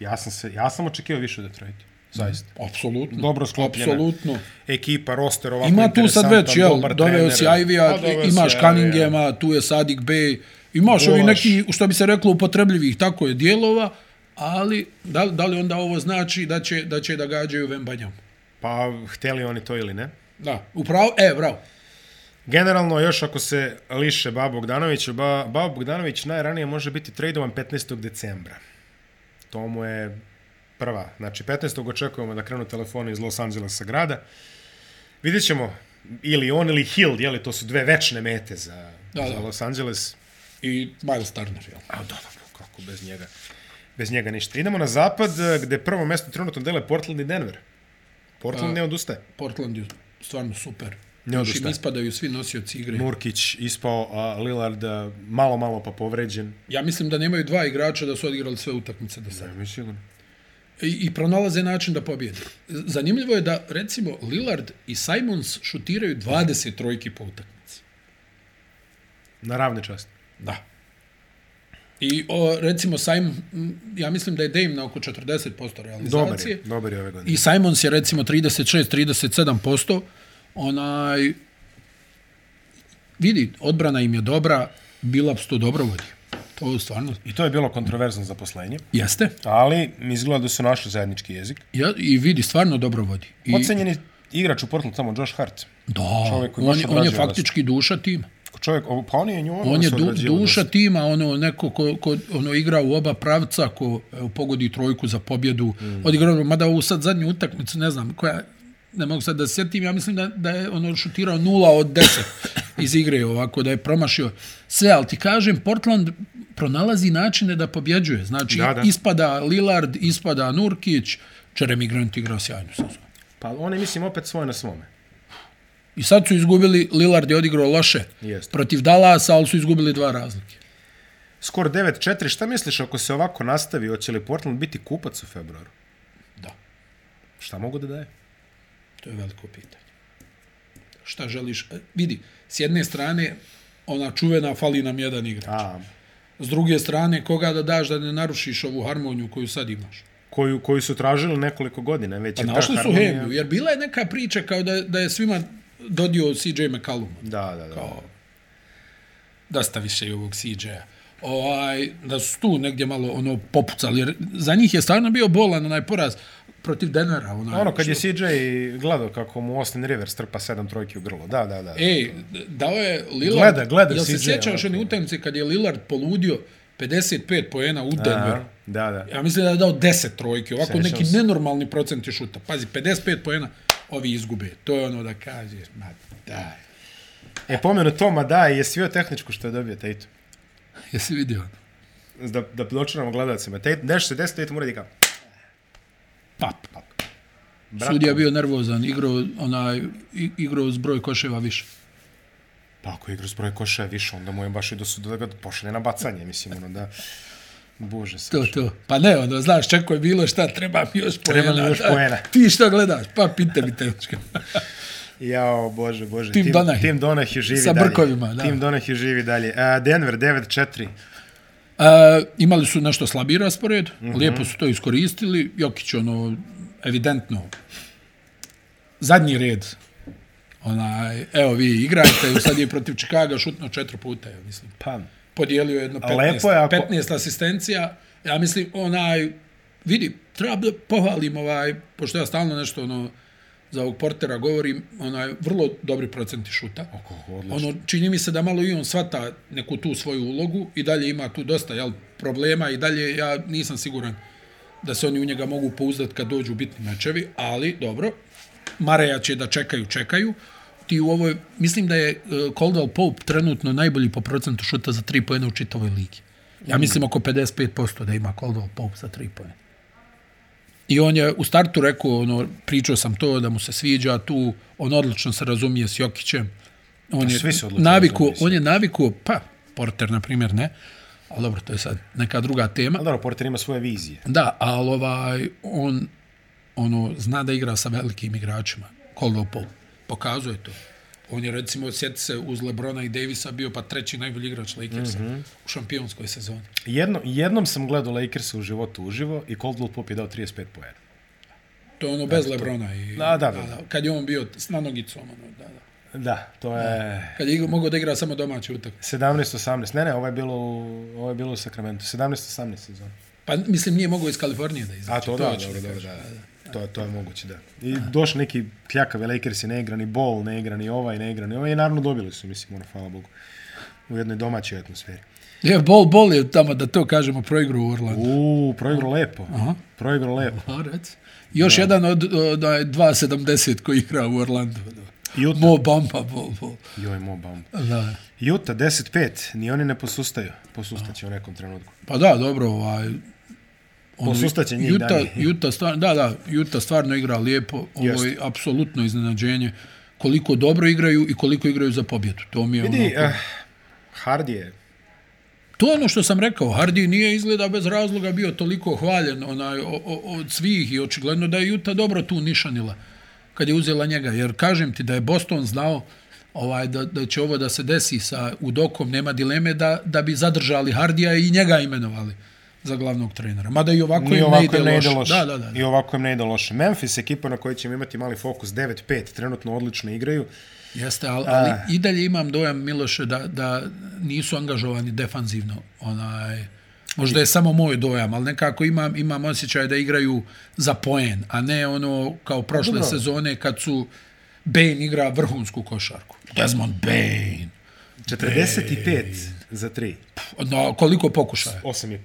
A: ja sam, se, ja sam očekio više od Detroita. Zaista.
B: Mhm. Apsolutno.
A: Dobro sklopljena.
B: Apsolutno.
A: Ekipa, roster ovako
B: Ima tu sad
A: interesantan,
B: već, jel,
A: dobar
B: doveo
A: trener.
B: si Ivija,
A: Pa, doveo si
B: imaš
A: Ivija.
B: Cunninghama, tu je Sadik Bey, imaš ovi
A: Golaš.
B: neki, što bi se reklo, upotrebljivih, tako je, dijelova, ali da, da li onda ovo znači da će da, će da gađaju Vembanjamu?
A: Pa, hteli oni to ili ne?
B: Da, upravo, e, bravo.
A: Generalno, još ako se liše Babo Bogdanoviću, ba, Babo Bogdanović najranije može biti tradovan 15. decembra. To mu je prva. Znači, 15. očekujemo da krenu telefoni iz Los Angelesa grada. Vidjet ćemo ili on ili Hill, jeli, to su dve večne mete za, da,
B: Da,
A: za
B: da.
A: Los Angeles.
B: I Miles Turner, jel?
A: A da, da, kako bez njega. Bez njega ništa. Idemo na zapad, eh, gde prvo mesto trenutno dele Portland i Denver. Portland
B: A-
A: ne odustaje.
B: Portland je stvarno super.
A: Ne
B: Još
A: odustaje.
B: im ispadaju svi nosioci igre.
A: Nurkić ispao, a Lillard eh, malo, malo pa povređen.
B: Ja mislim da nemaju dva igrača da su odigrali sve utakmice do sada.
A: Da, mi sigurno.
B: I, I pronalaze način da pobjede. Zanimljivo je da, recimo, Lillard i Simons šutiraju 20 trojki po utakmici.
A: Na ravne časti.
B: Da. I o, recimo Simon, m, ja mislim da je Dame na oko 40%
A: Dobar
B: realizacije.
A: je, dobar je ove godine.
B: I Simons je recimo 36-37%. Onaj, vidi, odbrana im je dobra, Bilaps to dobro vodi. To je stvarno...
A: I to je bilo kontroverzno zaposlenje,
B: Jeste.
A: ali izgleda da su našli zajednički jezik.
B: Ja, I vidi, stvarno dobro vodi. I,
A: Ocenjeni igrač u Portland tamo, Josh Hart.
B: Da,
A: Čovjek koji
B: on,
A: baš
B: on je
A: odrađuje
B: faktički duša tima.
A: Čovjek, ovo- pa on je nju
B: On je du, duša tima, ono neko ko, ko ono igra u oba pravca, ko evo, pogodi trojku za pobjedu. Mm. Odigrao, mada ovu sad zadnju utakmicu, ne znam, koja ne mogu sad da se sjetim, ja mislim da, da je ono šutirao 0 od 10 iz igre ovako, da je promašio sve, ali ti kažem, Portland pronalazi načine da pobjeđuje. Znači,
A: Da, da.
B: ispada Lillard, ispada Nurkić, Jeremy Grant igrao sjajnu sezonu.
A: Pa on je, mislim, opet svoj na svome.
B: I sad su izgubili, Lillard je odigrao loše
A: Jeste.
B: protiv Dallasa, ali su izgubili dva razlike.
A: Skor 9-4, šta misliš ako se ovako nastavi, hoće li Portland biti kupac u februaru?
B: Da.
A: Šta mogu da daje?
B: To je veliko pitanje. Šta želiš? E, Vidi, s jedne strane, ona čuvena fali nam jedan igrač.
A: A,
B: S druge strane, koga da daš da ne narušiš ovu harmoniju koju sad imaš?
A: koju, koju su tražili nekoliko godina. Već
B: Pa
A: je E, ta
B: našli su
A: harmonija-
B: Hemiju, jer bila je neka priča kao da, da je svima dodio CJ McCallum.
A: Da, da, da. Kao.
B: Da staviše i ovog CJ-a. Ovaj, da su tu negdje malo ono popucali, jer za njih je stvarno bio bolan onaj poraz protiv Denvera. Onaj,
A: Ono, kad
B: što-
A: je CJ gledao kako mu Austin Rivers trpa sedam trojki u grlo. Da, da, da.
B: Ej, E, dao je Lillard...
A: Gleda, gleda
B: Jel se
A: CJ,
B: sjećaš
A: ovako.
B: one utakmice kad je Lillard poludio 55 poena u Denveru?
A: A, da, da.
B: Ja mislim da je dao 10 trojke, ovako
A: Sjećam
B: neki
A: se.
B: nenormalni procenti šuta. Pazi, 55 poena, ovi izgube. To je ono da kažeš, ma daj.
A: E, pomenu Toma, da, je svio tehničku što je dobio Tatum.
B: Jesi vidio ono?
A: Da, da dočaramo gledalcima. Tatum, nešto se desilo, Tatum uredi kao.
B: Pap. pap.
A: Brakom.
B: Sudija je bio nervozan, igrao, onaj, i- igrao zbroj koševa više.
A: Pa ako igra s broje koša je više, onda mu je baš i do suda da ga pošalje na bacanje, mislim, ono da... Bože sam.
B: To, to. Pa ne, ono, znaš, čekaj bilo šta, treba mi još poena.
A: Treba mi još
B: da.
A: poena.
B: Ti što gledaš? Pa pite mi tehnička.
A: Jao, bože, bože.
B: Tim Donahue.
A: Tim Donahue živi
B: Sa
A: dalje.
B: brkovima, da.
A: Tim Donahue živi dalje. A, Denver 9-4.
B: E, imali su nešto slabiji raspored, mm
A: Mhm.
B: -hmm. lijepo su to iskoristili. Jokić, ono, evidentno, zadnji red. Onaj, evo vi igrajte, sad je protiv Čikaga šutno četiri puta, ja mislim.
A: Pa,
B: Podijelio je jedno
A: A lepo je
B: 15,
A: ako-
B: 15 asistencija. Ja mislim, onaj, vidi, treba da pohvalim ovaj, pošto ja stalno nešto, ono, za ovog portera govorim, onaj, vrlo dobri procenti šuta.
A: oko, odlično.
B: Ono, čini mi se da malo i on svata neku tu svoju ulogu i dalje ima tu dosta jel, problema i dalje ja nisam siguran da se oni u njega mogu pouzdati kad dođu bitni mečevi, ali dobro, Mareja će da čekaju, čekaju. Ti u ovoj, mislim da je e, Caldwell Pope trenutno najbolji po procentu šuta za 3 pojene u čitavoj ligi. Ja mislim oko 55% da ima Caldwell Pope za 3 pojene. I on je u startu rekao, ono, pričao sam to da mu se sviđa tu, on odlično se razumije s Jokićem. On je
A: svi se odlično
B: naviku,
A: razumiju s
B: on je naviku, pa Porter na primjer ne, ali dobro, to je sad neka druga tema.
A: Ali dobro, Porter ima svoje vizije.
B: Da, ali ovaj, on ono, zna da igra sa velikim igračima. Caldwell Pope. Pokazuje to. On je recimo, sjeti se, uz Lebrona i Davisa bio pa treći najbolji igrač Lakersa
A: Mhm.
B: mm -hmm. u šampionskoj sezoni.
A: Jedno, jednom sam gledao Lakersa u životu uživo i Coldwell Pop je dao 35 poena.
B: To je ono bez Lebrona. I,
A: Da, da,
B: da,
A: da.
B: da. Kad je on bio s nanogicom. Ono, da, da.
A: Da, to je
B: Kad je igra- mogao da igra samo domaće utakmice.
A: 17-18. Ne, ne, ovo je bilo u, ovo je bilo u Sacramento. 17-18 sezon.
B: Pa mislim nije mogao iz Kalifornije da izađe.
A: A Znači, to, da,
B: hoću
A: dobro, dobro,
B: kažem.
A: da. da. To, to je moguće, da. I došli neki kljakavi Lakersi, ne igra ni bol, ne igra ni ovaj, ne igra ni ovaj. I naravno dobili su, mislim, ono, hvala Bogu. U jednoj domaćoj atmosferi.
B: Je, bol, bol je tamo da to kažemo proigru u Orlandu.
A: Uuu, proigro lepo. Proigro lepo.
B: A, rec. Još da. jedan od, od, od 2.70 koji igra u Orlandu. Da.
A: Utah.
B: Mo Bamba, bol, bol.
A: Joj, mo bam.
B: Da.
A: Utah 10-5, ni oni ne posustaju. Posustaće u nekom trenutku.
B: Pa da, dobro, ovaj... Ono,
A: Posustaće njih
B: Juta,
A: dalje.
B: Juta stvarno, da, da, Juta stvarno igra lijepo. Ovo je
A: Jeste.
B: apsolutno iznenađenje koliko dobro igraju i koliko igraju za pobjedu. To mi je
A: Vidi,
B: ono...
A: eh, Hardy je
B: To je ono što sam rekao, Hardy nije izgleda bez razloga bio toliko hvaljen onaj, o, o, od svih i očigledno da je Juta dobro tu nišanila kad je uzela njega. Jer kažem ti da je Boston znao ovaj da, da će ovo da se desi sa Udokom, nema dileme da, da bi zadržali Hardija i njega imenovali za glavnog trenera. Mada i ovako,
A: Ni
B: im
A: ovako
B: ne ide,
A: im ne ide
B: loše.
A: loše.
B: Da, da, da.
A: I ovako im ne ide loše. Memphis ekipa na kojoj ćemo imati mali fokus 9-5, trenutno odlično igraju.
B: Jeste, ali, ali i dalje imam dojam Miloše da, da nisu angažovani defanzivno. Onaj, Možda je samo moj dojam, ali nekako imam, imam osjećaj da igraju za poen, a ne ono kao prošle
A: dobro.
B: sezone kad su Bane igra vrhunsku košarku. Desmond Bane.
A: 45 za 3.
B: Na koliko pokušaja?
A: 8,5.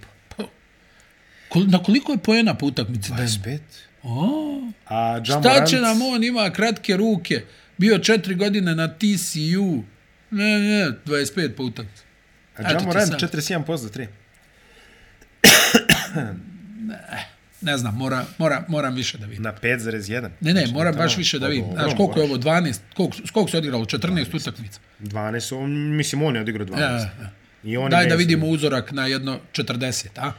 B: Kol, na koliko je poena po utakmici? Desmond?
A: 25. A
B: Pa Šta
A: Jamorant...
B: će nam on ima kratke ruke? Bio četiri godine na TCU. Ne, ne, 25 po utakmici.
A: A
B: Eto ti
A: Jamorant
B: sad.
A: 47% za 3.
B: Ne znam, mora, mora, moram više da vidim.
A: Na 5,1.
B: Ne, ne,
A: Znači,
B: moram
A: tamo-
B: baš više da vidim.
A: Ogromno
B: Znaš, koliko je
A: baš.
B: ovo 12, koliko, koliko se odigralo? 14 utakmica.
A: 12, on, mislim, on je odigrao 12.
B: Ja, ja, ja.
A: I on
B: Daj
A: je
B: da
A: Mason.
B: vidimo uzorak na jedno 40, a?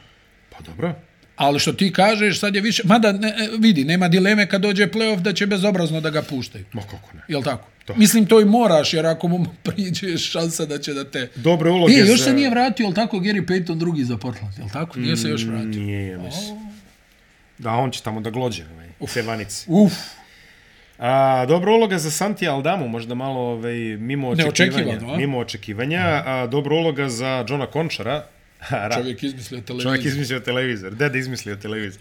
A: Pa dobro.
B: Ali što ti kažeš, sad je više... Mada, ne, e, vidi, nema dileme kad dođe playoff da će bezobrazno da ga puštaju.
A: Ma kako ne.
B: Jel tako?
A: To.
B: Mislim, to i moraš, jer ako mu priđeš šansa da će da te...
A: Dobre uloge
B: E, još
A: za...
B: se nije vratio, jel tako, Gary Payton drugi za Portland, jel tako? Nije se još
A: Mm,
B: vratio.
A: Nije, ja mislim. Da, on će tamo da glođe, ovaj, sve vanice.
B: Uf,
A: A, dobra uloga za Santi Aldamu, možda malo ovaj, mimo
B: Neočekivano,
A: očekivanja.
B: a?
A: Mimo očekivanja. A, dobra uloga za Johna Končara. Ha, ra-
B: čovjek izmislio televiziju.
A: Čovjek izmislio televizor. Deda izmislio televizor.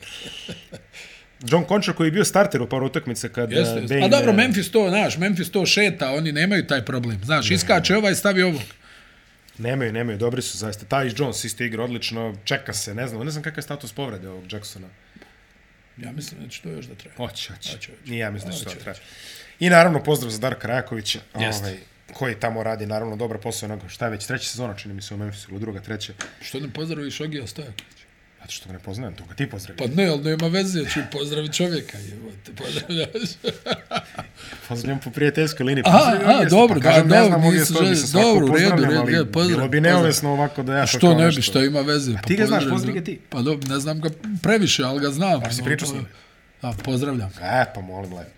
A: John Končar koji je bio starter u par utakmice kad...
B: Jeste,
A: a,
B: jeste.
A: Bane,
B: Pa dobro,
A: e,
B: Memphis to, znaš, Memphis to šeta, oni nemaju taj problem. Znaš, iskače ovaj, stavi ovog.
A: Nemaju, nemaju, dobri su zaista. Taj Jones isto igra odlično, čeka se, ne znam, ne znam kakav je status povrede ovog Jacksona.
B: Ja mislim da će to još da treba.
A: Hoće, hoće.
B: Hoće, hoće.
A: Nije ja mislim da će to
B: Hoće,
A: da traje. I naravno pozdrav za Darka Rajakovića,
B: Jeste.
A: ovaj, koji tamo radi naravno dobar posao, onako šta je već treća sezona čini mi se u Memphisu ili druga, treća.
B: Što ne pozdraviš Ogija Stojakovića?
A: Zato što ga ne poznajem, to ga ti pozdravi.
B: Pa ne, ali nema veze, ja ću pozdraviti čovjeka. Jebote, pozdravljaš.
A: Pozdravljam po prijateljskoj liniji.
B: Aha,
A: Pozdravljam
B: aha,
A: Ognjesta,
B: dobro,
A: kažem,
B: da,
A: ne
B: dobro,
A: znam, Ognjesta,
B: nisu
A: bi se
B: želje-
A: svakako
B: dobro, u redu,
A: pozdravljam,
B: redu,
A: ali
B: redu, pozdrav,
A: Bilo bi
B: pozdrav.
A: neumesno ovako da ja sad
B: Što
A: kao
B: Pa ne bi,
A: nešto-
B: što ima veze. Pa
A: ti ga znaš,
B: pozdravim,
A: pozdravi ga
B: da.
A: ti.
B: Pa dobro, ne znam ga previše, ali ga znam.
A: si
B: No,
A: pričao s
B: pa-
A: njim?
B: Da, pozdravljam. ga.
A: E, pa molim lepo.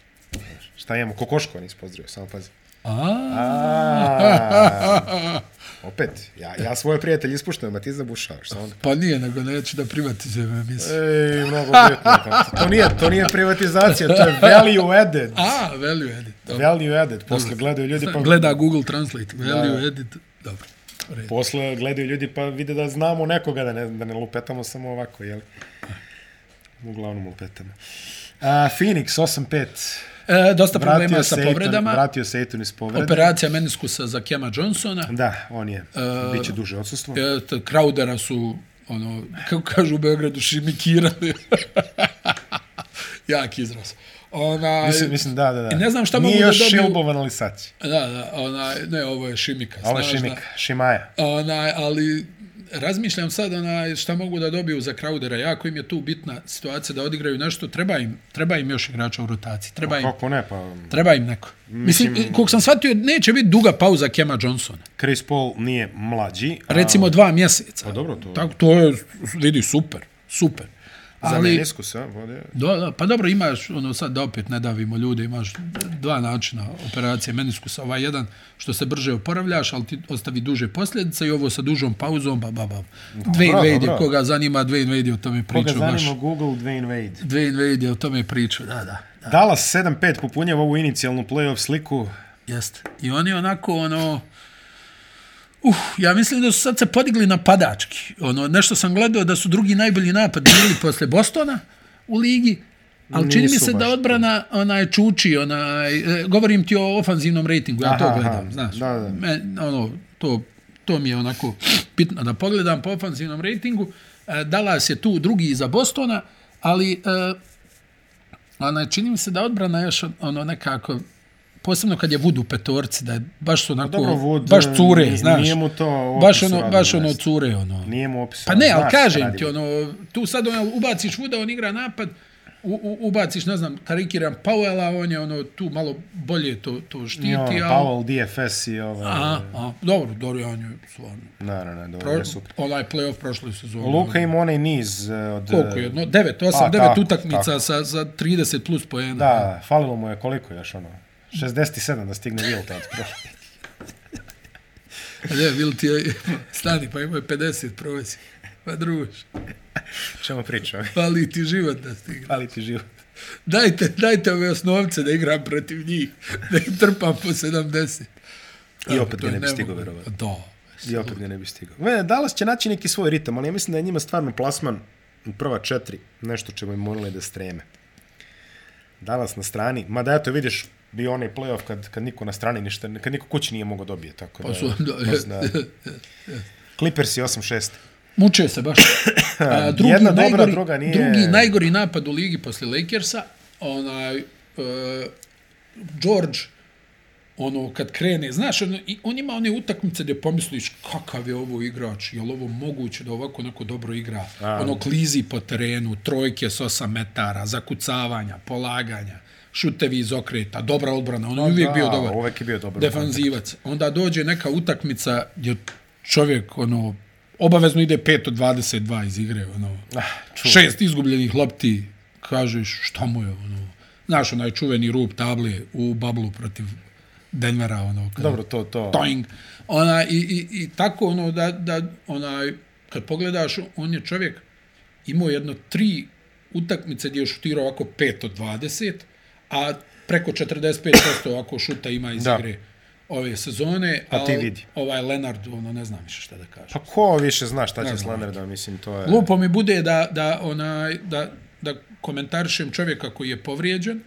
A: Šta imamo? Kokoškova nisi pozdravio, samo pazi.
B: A,
A: A, Opet, ja, ja svoje prijatelje ispuštam, a ti zabušavaš. Samo...
B: pa nije, nego neću da privatizujem emisiju.
A: Ej, mnogo bitno. pa To nije, to nije privatizacija, to je value added.
B: A, value edit. Dobro.
A: Value added. Posle gledaju ljudi pa...
B: Gleda Google Translate. Value edit. Dobro. u redu.
A: Posle gledaju ljudi pa vide da znamo nekoga, da ne, da ne lupetamo samo ovako, jel? Uglavnom lupetamo. A, Phoenix 8-5.
B: E, dosta
A: Vratio
B: problema
A: se
B: sa
A: Ayton,
B: povredama.
A: vratio se Ayton iz povrede.
B: Operacija meniskusa za Kema Johnsona.
A: Da, on je. Biće duže odsustvo.
B: E, t- Crowdera su, ono, kako kažu u Beogradu, šimikirali. Jak izraz. Ona,
A: Mislim, mislim, da, da, da.
B: Ne znam šta
A: Nije
B: mogu da
A: još
B: dobiju-
A: šilbovan, ali sad će.
B: Da, da, ona, ne, ovo je šimika.
A: Ovo je
B: znaš da.
A: Šimik, Šimaja.
B: Onaj, ali razmišljam sad onaj, šta mogu da dobiju za Crowdera. Jako im je tu bitna situacija da odigraju nešto. Treba im, treba im još igrača u rotaciji. Treba im,
A: Kako ne, pa
B: treba im neko. Mislim, koliko sam shvatio, neće biti duga pauza Kema Johnsona.
A: Chris Paul nije mlađi. a
B: Recimo dva mjeseca. Pa
A: dobro, to-
B: Tako, to je, vidi, super, super.
A: Za ali...
B: Ali,
A: meniskus, a, vode.
B: da, da, pa dobro, imaš, ono sad da opet ne davimo ljude, imaš dva načina operacije meniskusa, ovaj jedan što se brže oporavljaš, ali ti ostavi duže posljedice i ovo sa dužom pauzom, ba, ba, ba. Dwayne
A: Bravo,
B: Wade,
A: bravo.
B: je, koga zanima, Dwayne Wade je o tome
A: Koga
B: pričao baš.
A: zanima Google Dwayne Wade.
B: Dwayne Wade je o tome pričao, da, da,
A: Dallas 7-5 popunjava ovu inicijalnu playoff sliku.
B: jeste. I oni onako, ono, Uh, ja mislim da su sad se podigli napadački. Ono, nešto sam gledao da su drugi najbolji napad bili posle Bostona u ligi, ali čini mi
A: Nisu
B: se
A: baš
B: da
A: to.
B: odbrana onaj čuči, onaj, e, govorim ti o ofanzivnom rejtingu, ja
A: Aha,
B: to
A: aha,
B: gledam, znaš.
A: da, da.
B: Me, ono, to, to mi je onako bitno da pogledam po ofanzivnom rejtingu. E, Dallas je tu drugi iza Bostona, ali e, onaj, Ono, čini mi se da odbrana još ono nekako posebno kad je Wood u petorci, da je baš su onako,
A: dobro, Wood,
B: baš cure,
A: nije-
B: znaš.
A: nije mu to
B: baš
A: opisu
B: ono,
A: radno
B: baš ono
A: mesto.
B: cure, ono.
A: Nije mu opisano.
B: Pa ne, ali
A: Znaš šta
B: kažem
A: radi.
B: ti, ono, tu sad ono, ubaciš Vuda, on igra napad, u, u, ubaciš, ne znam, karikiram Powella, on je ono, tu malo bolje to, to štiti,
A: Jo,
B: ali...
A: Powell, DFS i ovo.
B: A, a, dobro, dobro, on je stvarno.
A: Ne, ne, ne, dobro,
B: Pro,
A: je super.
B: onaj playoff prošle sezone. ono,
A: Luka ima onaj niz e, od...
B: Koliko je? No, 9, 8,
A: Pa,
B: 9
A: tako,
B: utakmica sa, sa 30 plus poena.
A: Da, falilo mu je koliko još ono. 67 da stigne Vilta od prošle.
B: A Ne, Vil ti je, stani, pa imao je 50 prosjek. Pa druž,
A: Čemu pričam?
B: fali ti život da stigne.
A: Ali ti život.
B: Dajte, dajte ove osnovce da igram protiv njih, da im trpam po 70.
A: I opet
B: To
A: ga ne
B: je
A: bi
B: nemoguće.
A: stigao, verovatno.
B: Da.
A: I opet ga ne bi stigao. Ne, Dallas će naći neki svoj ritam, ali ja mislim da je njima stvarno plasman u prva četiri nešto čemu im morali da streme. Dallas na strani, mada eto vidiš bio onaj playoff kad, kad niko na strani ništa, kad niko kući nije mogao dobije, tako da...
B: Pa su, da,
A: to zna. Clippers je 8-6.
B: Muče se baš. A, drugi
A: Jedna dobra,
B: najgori,
A: druga nije.
B: Drugi najgori napad u ligi posle Lakersa, onaj uh, George ono kad krene, znaš, ono, i on ima one utakmice gdje pomisliš kakav je ovo igrač, je li ovo moguće da ovako onako dobro igra? A. Ono klizi po terenu, trojke s 8 metara, zakucavanja, polaganja, šutevi iz okreta, dobra odbrana, on je uvijek
A: Pa da,
B: bio dobar.
A: uvijek je bio dobar u
B: Defanzivac. Onda dođe neka utakmica gdje čovjek ono obavezno ide 5 od 22 iz igre, ono.
A: Ah, čuo.
B: Šest izgubljenih lopti, kažeš šta mu je ono. Znaš onaj čuveni rup table u bablu protiv Denvera, ono. Kad,
A: Dobro, to, to.
B: Toing. Ona, i, i, I tako, ono, da, da, onaj, kad pogledaš, on je čovjek imao jedno tri utakmice gdje je šutirao ovako 5 od 20, a preko 45% ovako šuta ima iz
A: Da.
B: da. igre ove sezone.
A: Pa ti
B: al
A: vidi.
B: Ovaj Lenard, ono, ne znam više šta da kažem.
A: Pa ko više zna šta će
B: Ne
A: s
B: znam.
A: Leonardom, mislim, to je...
B: Lupo mi bude da, da, onaj, da, da komentarišem čovjeka koji je povrijeđen,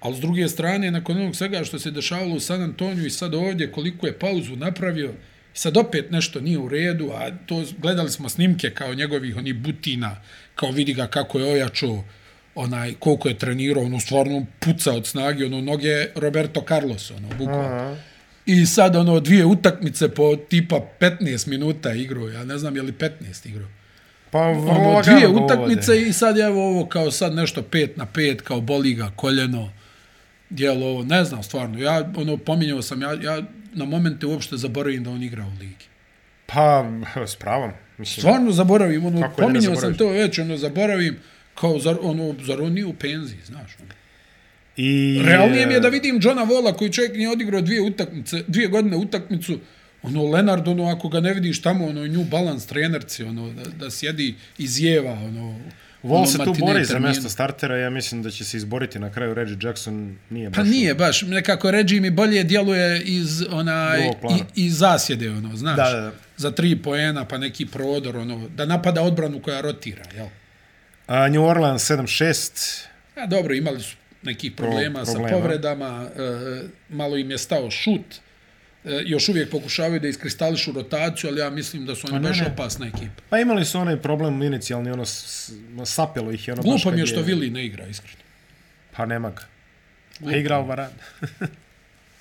B: ali s druge strane, nakon onog svega što se dešavalo u San Antoniju i sad ovdje, koliko je pauzu napravio, sad opet nešto nije u redu, a to gledali smo snimke kao njegovih onih butina, kao vidi ga kako je ojačao, onaj, koliko je trenirao, ono stvarno puca od snage, ono noge Roberto Carlos, ono, bukvalno. I sad ono dvije utakmice po tipa 15 minuta igrao, ja ne znam je li 15 igrao.
A: Pa vrlo
B: Ono,
A: lagano
B: dvije
A: ga uvode.
B: utakmice i sad evo ovo kao sad nešto 5 na 5, kao boli ga koljeno, djelo ovo, ne znam stvarno. Ja ono pominjao sam, ja, ja na momente uopšte zaboravim da on igra u ligi.
A: Pa, s pravom. Mislim,
B: Stvarno zaboravim, ono,
A: Kako je da ne
B: pominjao sam
A: zaboraviš?
B: to već, ono, zaboravim, kao, zar, ono, zar on nije u penziji, znaš. Ono.
A: I, e,
B: Realnije mi je da vidim Johna Vola koji čovjek nije odigrao dvije utakmice, dvije godine utakmicu, ono Lenard, ono ako ga ne vidiš tamo, ono New Balance trenerci, ono da, da sjedi i zjeva, ono
A: Vol
B: ono,
A: se tu
B: matine
A: bori za
B: termine.
A: mjesto startera, ja mislim da će se izboriti na kraju Reggie Jackson, nije
B: Pa
A: baš...
B: nije baš, nekako Reggie mi bolje djeluje iz onaj
A: Drugog plana.
B: i, iz zasjede, ono, znaš.
A: Da, da, da.
B: Za tri poena, pa neki prodor, ono, da napada odbranu koja rotira, jel?
A: A, New Orleans 7-6,
B: A dobro, imali su nekih problema,
A: problema.
B: sa povredama, e, malo im je stao šut, e, još uvijek pokušavaju da iskristališu rotaciju, ali ja mislim da su oni baš
A: Pa ne.
B: opasna ekipa.
A: Pa imali su onaj problem inicijalni, ono, s- s- sapelo ih je ono... baš
B: Glupo
A: kad
B: mi je što Vili ne igra, iskreno.
A: Pa nema ga. Pa igra Alvarado.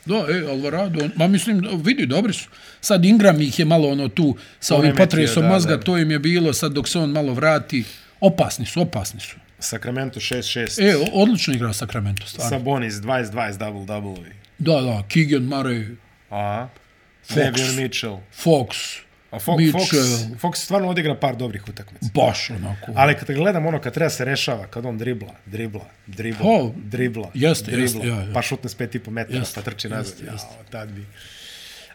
B: Da, e, Alvarado, on- ma mislim, vidi, dobri su. Sad Ingram ih je malo ono tu sa ovim
A: Poremetio,
B: potresom
A: da,
B: mozga,
A: da.
B: to im je bilo, sad dok se on malo vrati, opasni su, opasni su.
A: Sacramento 6-6.
B: E, o- odlično igrao Sacramento, stvarno.
A: Sabonis 20-20 double-double.
B: Da, da, Keegan Murray,
A: A?
B: Fox.
A: Fabian Mitchell.
B: Fox,
A: A Fo Fox,
B: Mitchell.
A: Fox stvarno odigra par dobrih utakmica.
B: baš onako.
A: Ali kad gledam ono kad treba se rešava, kad on dribla, dribla, dribla,
B: Pa,
A: dribla,
B: jeste,
A: dribla,
B: jeste, ja, ja.
A: pa šutne s pet i po metara,
B: Jeste,
A: pa trči nazad.
B: jeste,
A: Jao,
B: jeste.
A: tad bi...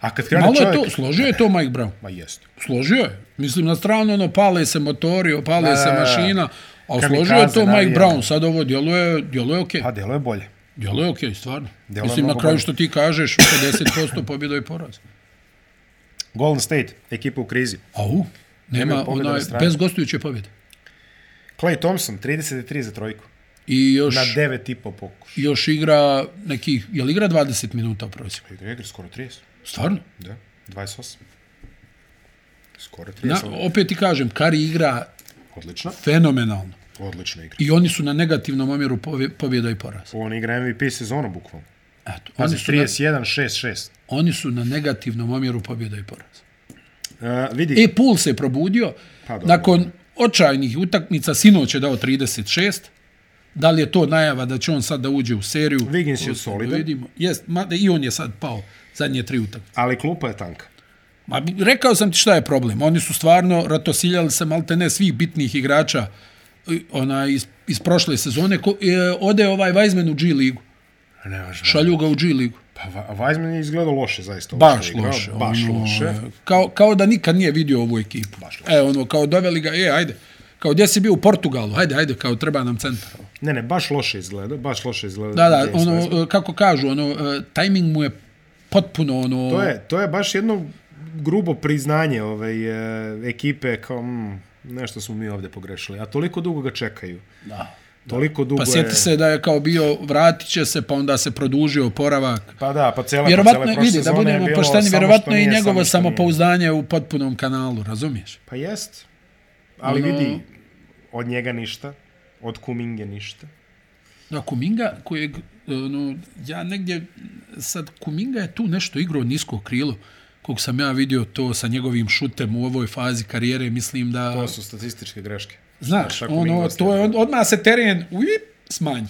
A: A kad krene
B: Malo je
A: čovjek...
B: to, složio je to Mike Brown.
A: Ma jeste.
B: Složio je. Mislim, na stranu, ono, pale se motori, opale
A: Da,
B: se
A: da, da.
B: mašina, a
A: Kamikaze,
B: složio je to Mike
A: navijanje.
B: Brown. Sad ovo djeluje, djeluje okej.
A: Pa djelo je bolje.
B: Djeluje okej, stvarno.
A: Djeluje
B: Mislim, na
A: mnogo
B: kraju
A: bolje.
B: što ti kažeš, 50% pobjeda i poraz.
A: Golden State, ekipa u krizi.
B: Au, nema,
A: Nemaju pobjede
B: onaj,
A: na strani.
B: bez gostujuće pobjede.
A: Clay Thompson, 33 za trojku.
B: I još,
A: Na 9,5 pokuš.
B: još igra nekih, je li igra 20 minuta u prosjeku?
A: Igra Pa skoro 30.
B: Stvarno?
A: Da, 28. Skoro 30.
B: Na, opet ti kažem, Kari igra
A: Odlično.
B: fenomenalno.
A: Odlična igra.
B: I oni su na negativnom omjeru povje- pobjeda i poraza.
A: On igra MVP sezonu, bukvalno. Znači,
B: Eto,
A: Pazi,
B: oni, su na,
A: 31-6-6.
B: oni su na negativnom omjeru pobjeda i poraza.
A: Uh, vidi,
B: E, Pul se probudio.
A: Pa dobro.
B: Nakon očajnih utakmica, sinoć je dao 36. Da li je to najava da će on sad da uđe u seriju?
A: Wiggins je
B: To sad da
A: solidan.
B: Vidimo. Jest, ma, I on je sad pao zadnje tri utakmice.
A: ali klupa je tanka.
B: Ma, bi- rekao sam ti šta je problem. Oni su stvarno ratosiljali se malte ne svih bitnih igrača i- ona iz, iz prošle sezone. Ko, e, ode ovaj Weizman u G ligu.
A: Ne važno.
B: Šalju ga u G ligu.
A: Pa Va- Weizman je izgledao loše zaista. ovo
B: Baš
A: što je igrao.
B: loše.
A: Baš
B: ono,
A: loše.
B: Kao, kao da nikad nije vidio ovu ekipu.
A: Baš loše.
B: E, ono, kao doveli ga, e, ajde. Kao gdje si bio u Portugalu, ajde, ajde, kao treba nam centar.
A: Ne, ne, baš loše izgleda, baš loše izgleda.
B: Da, da,
A: James Weizman.
B: ono, e, kako kažu, ono, e, tajming mu je potpuno, ono,
A: To je, to je baš jedno grubo priznanje ovaj, e, ekipe kao mm, nešto smo mi ovdje pogrešili, a toliko dugo ga čekaju.
B: Da.
A: Toliko dugo
B: Pa sjeti
A: je...
B: se da je kao bio, vratit će se, pa onda se produžio oporavak.
A: Pa da, pa cela, pa
B: Vjerovatno,
A: cele prošle
B: vidi, da
A: sezone je
B: budemo
A: bilo samo
B: pošteni,
A: što
B: vjerovatno i
A: nije,
B: njegovo
A: samo što nije.
B: samopouzdanje u potpunom kanalu, razumiješ?
A: Pa jest, ali
B: Ono-
A: vidi, od njega ništa, od Kuminge ništa.
B: Da, Kuminga, kojeg, ono, ja negdje, sad, Kuminga je tu nešto igrao nisko krilo, kog sam ja vidio to sa njegovim šutem u ovoj fazi karijere, mislim da...
A: To su statističke greške.
B: Znaš,
A: Šta Kuminga
B: ono,
A: ostaje?
B: to je, on- odmah se teren uip, smanji.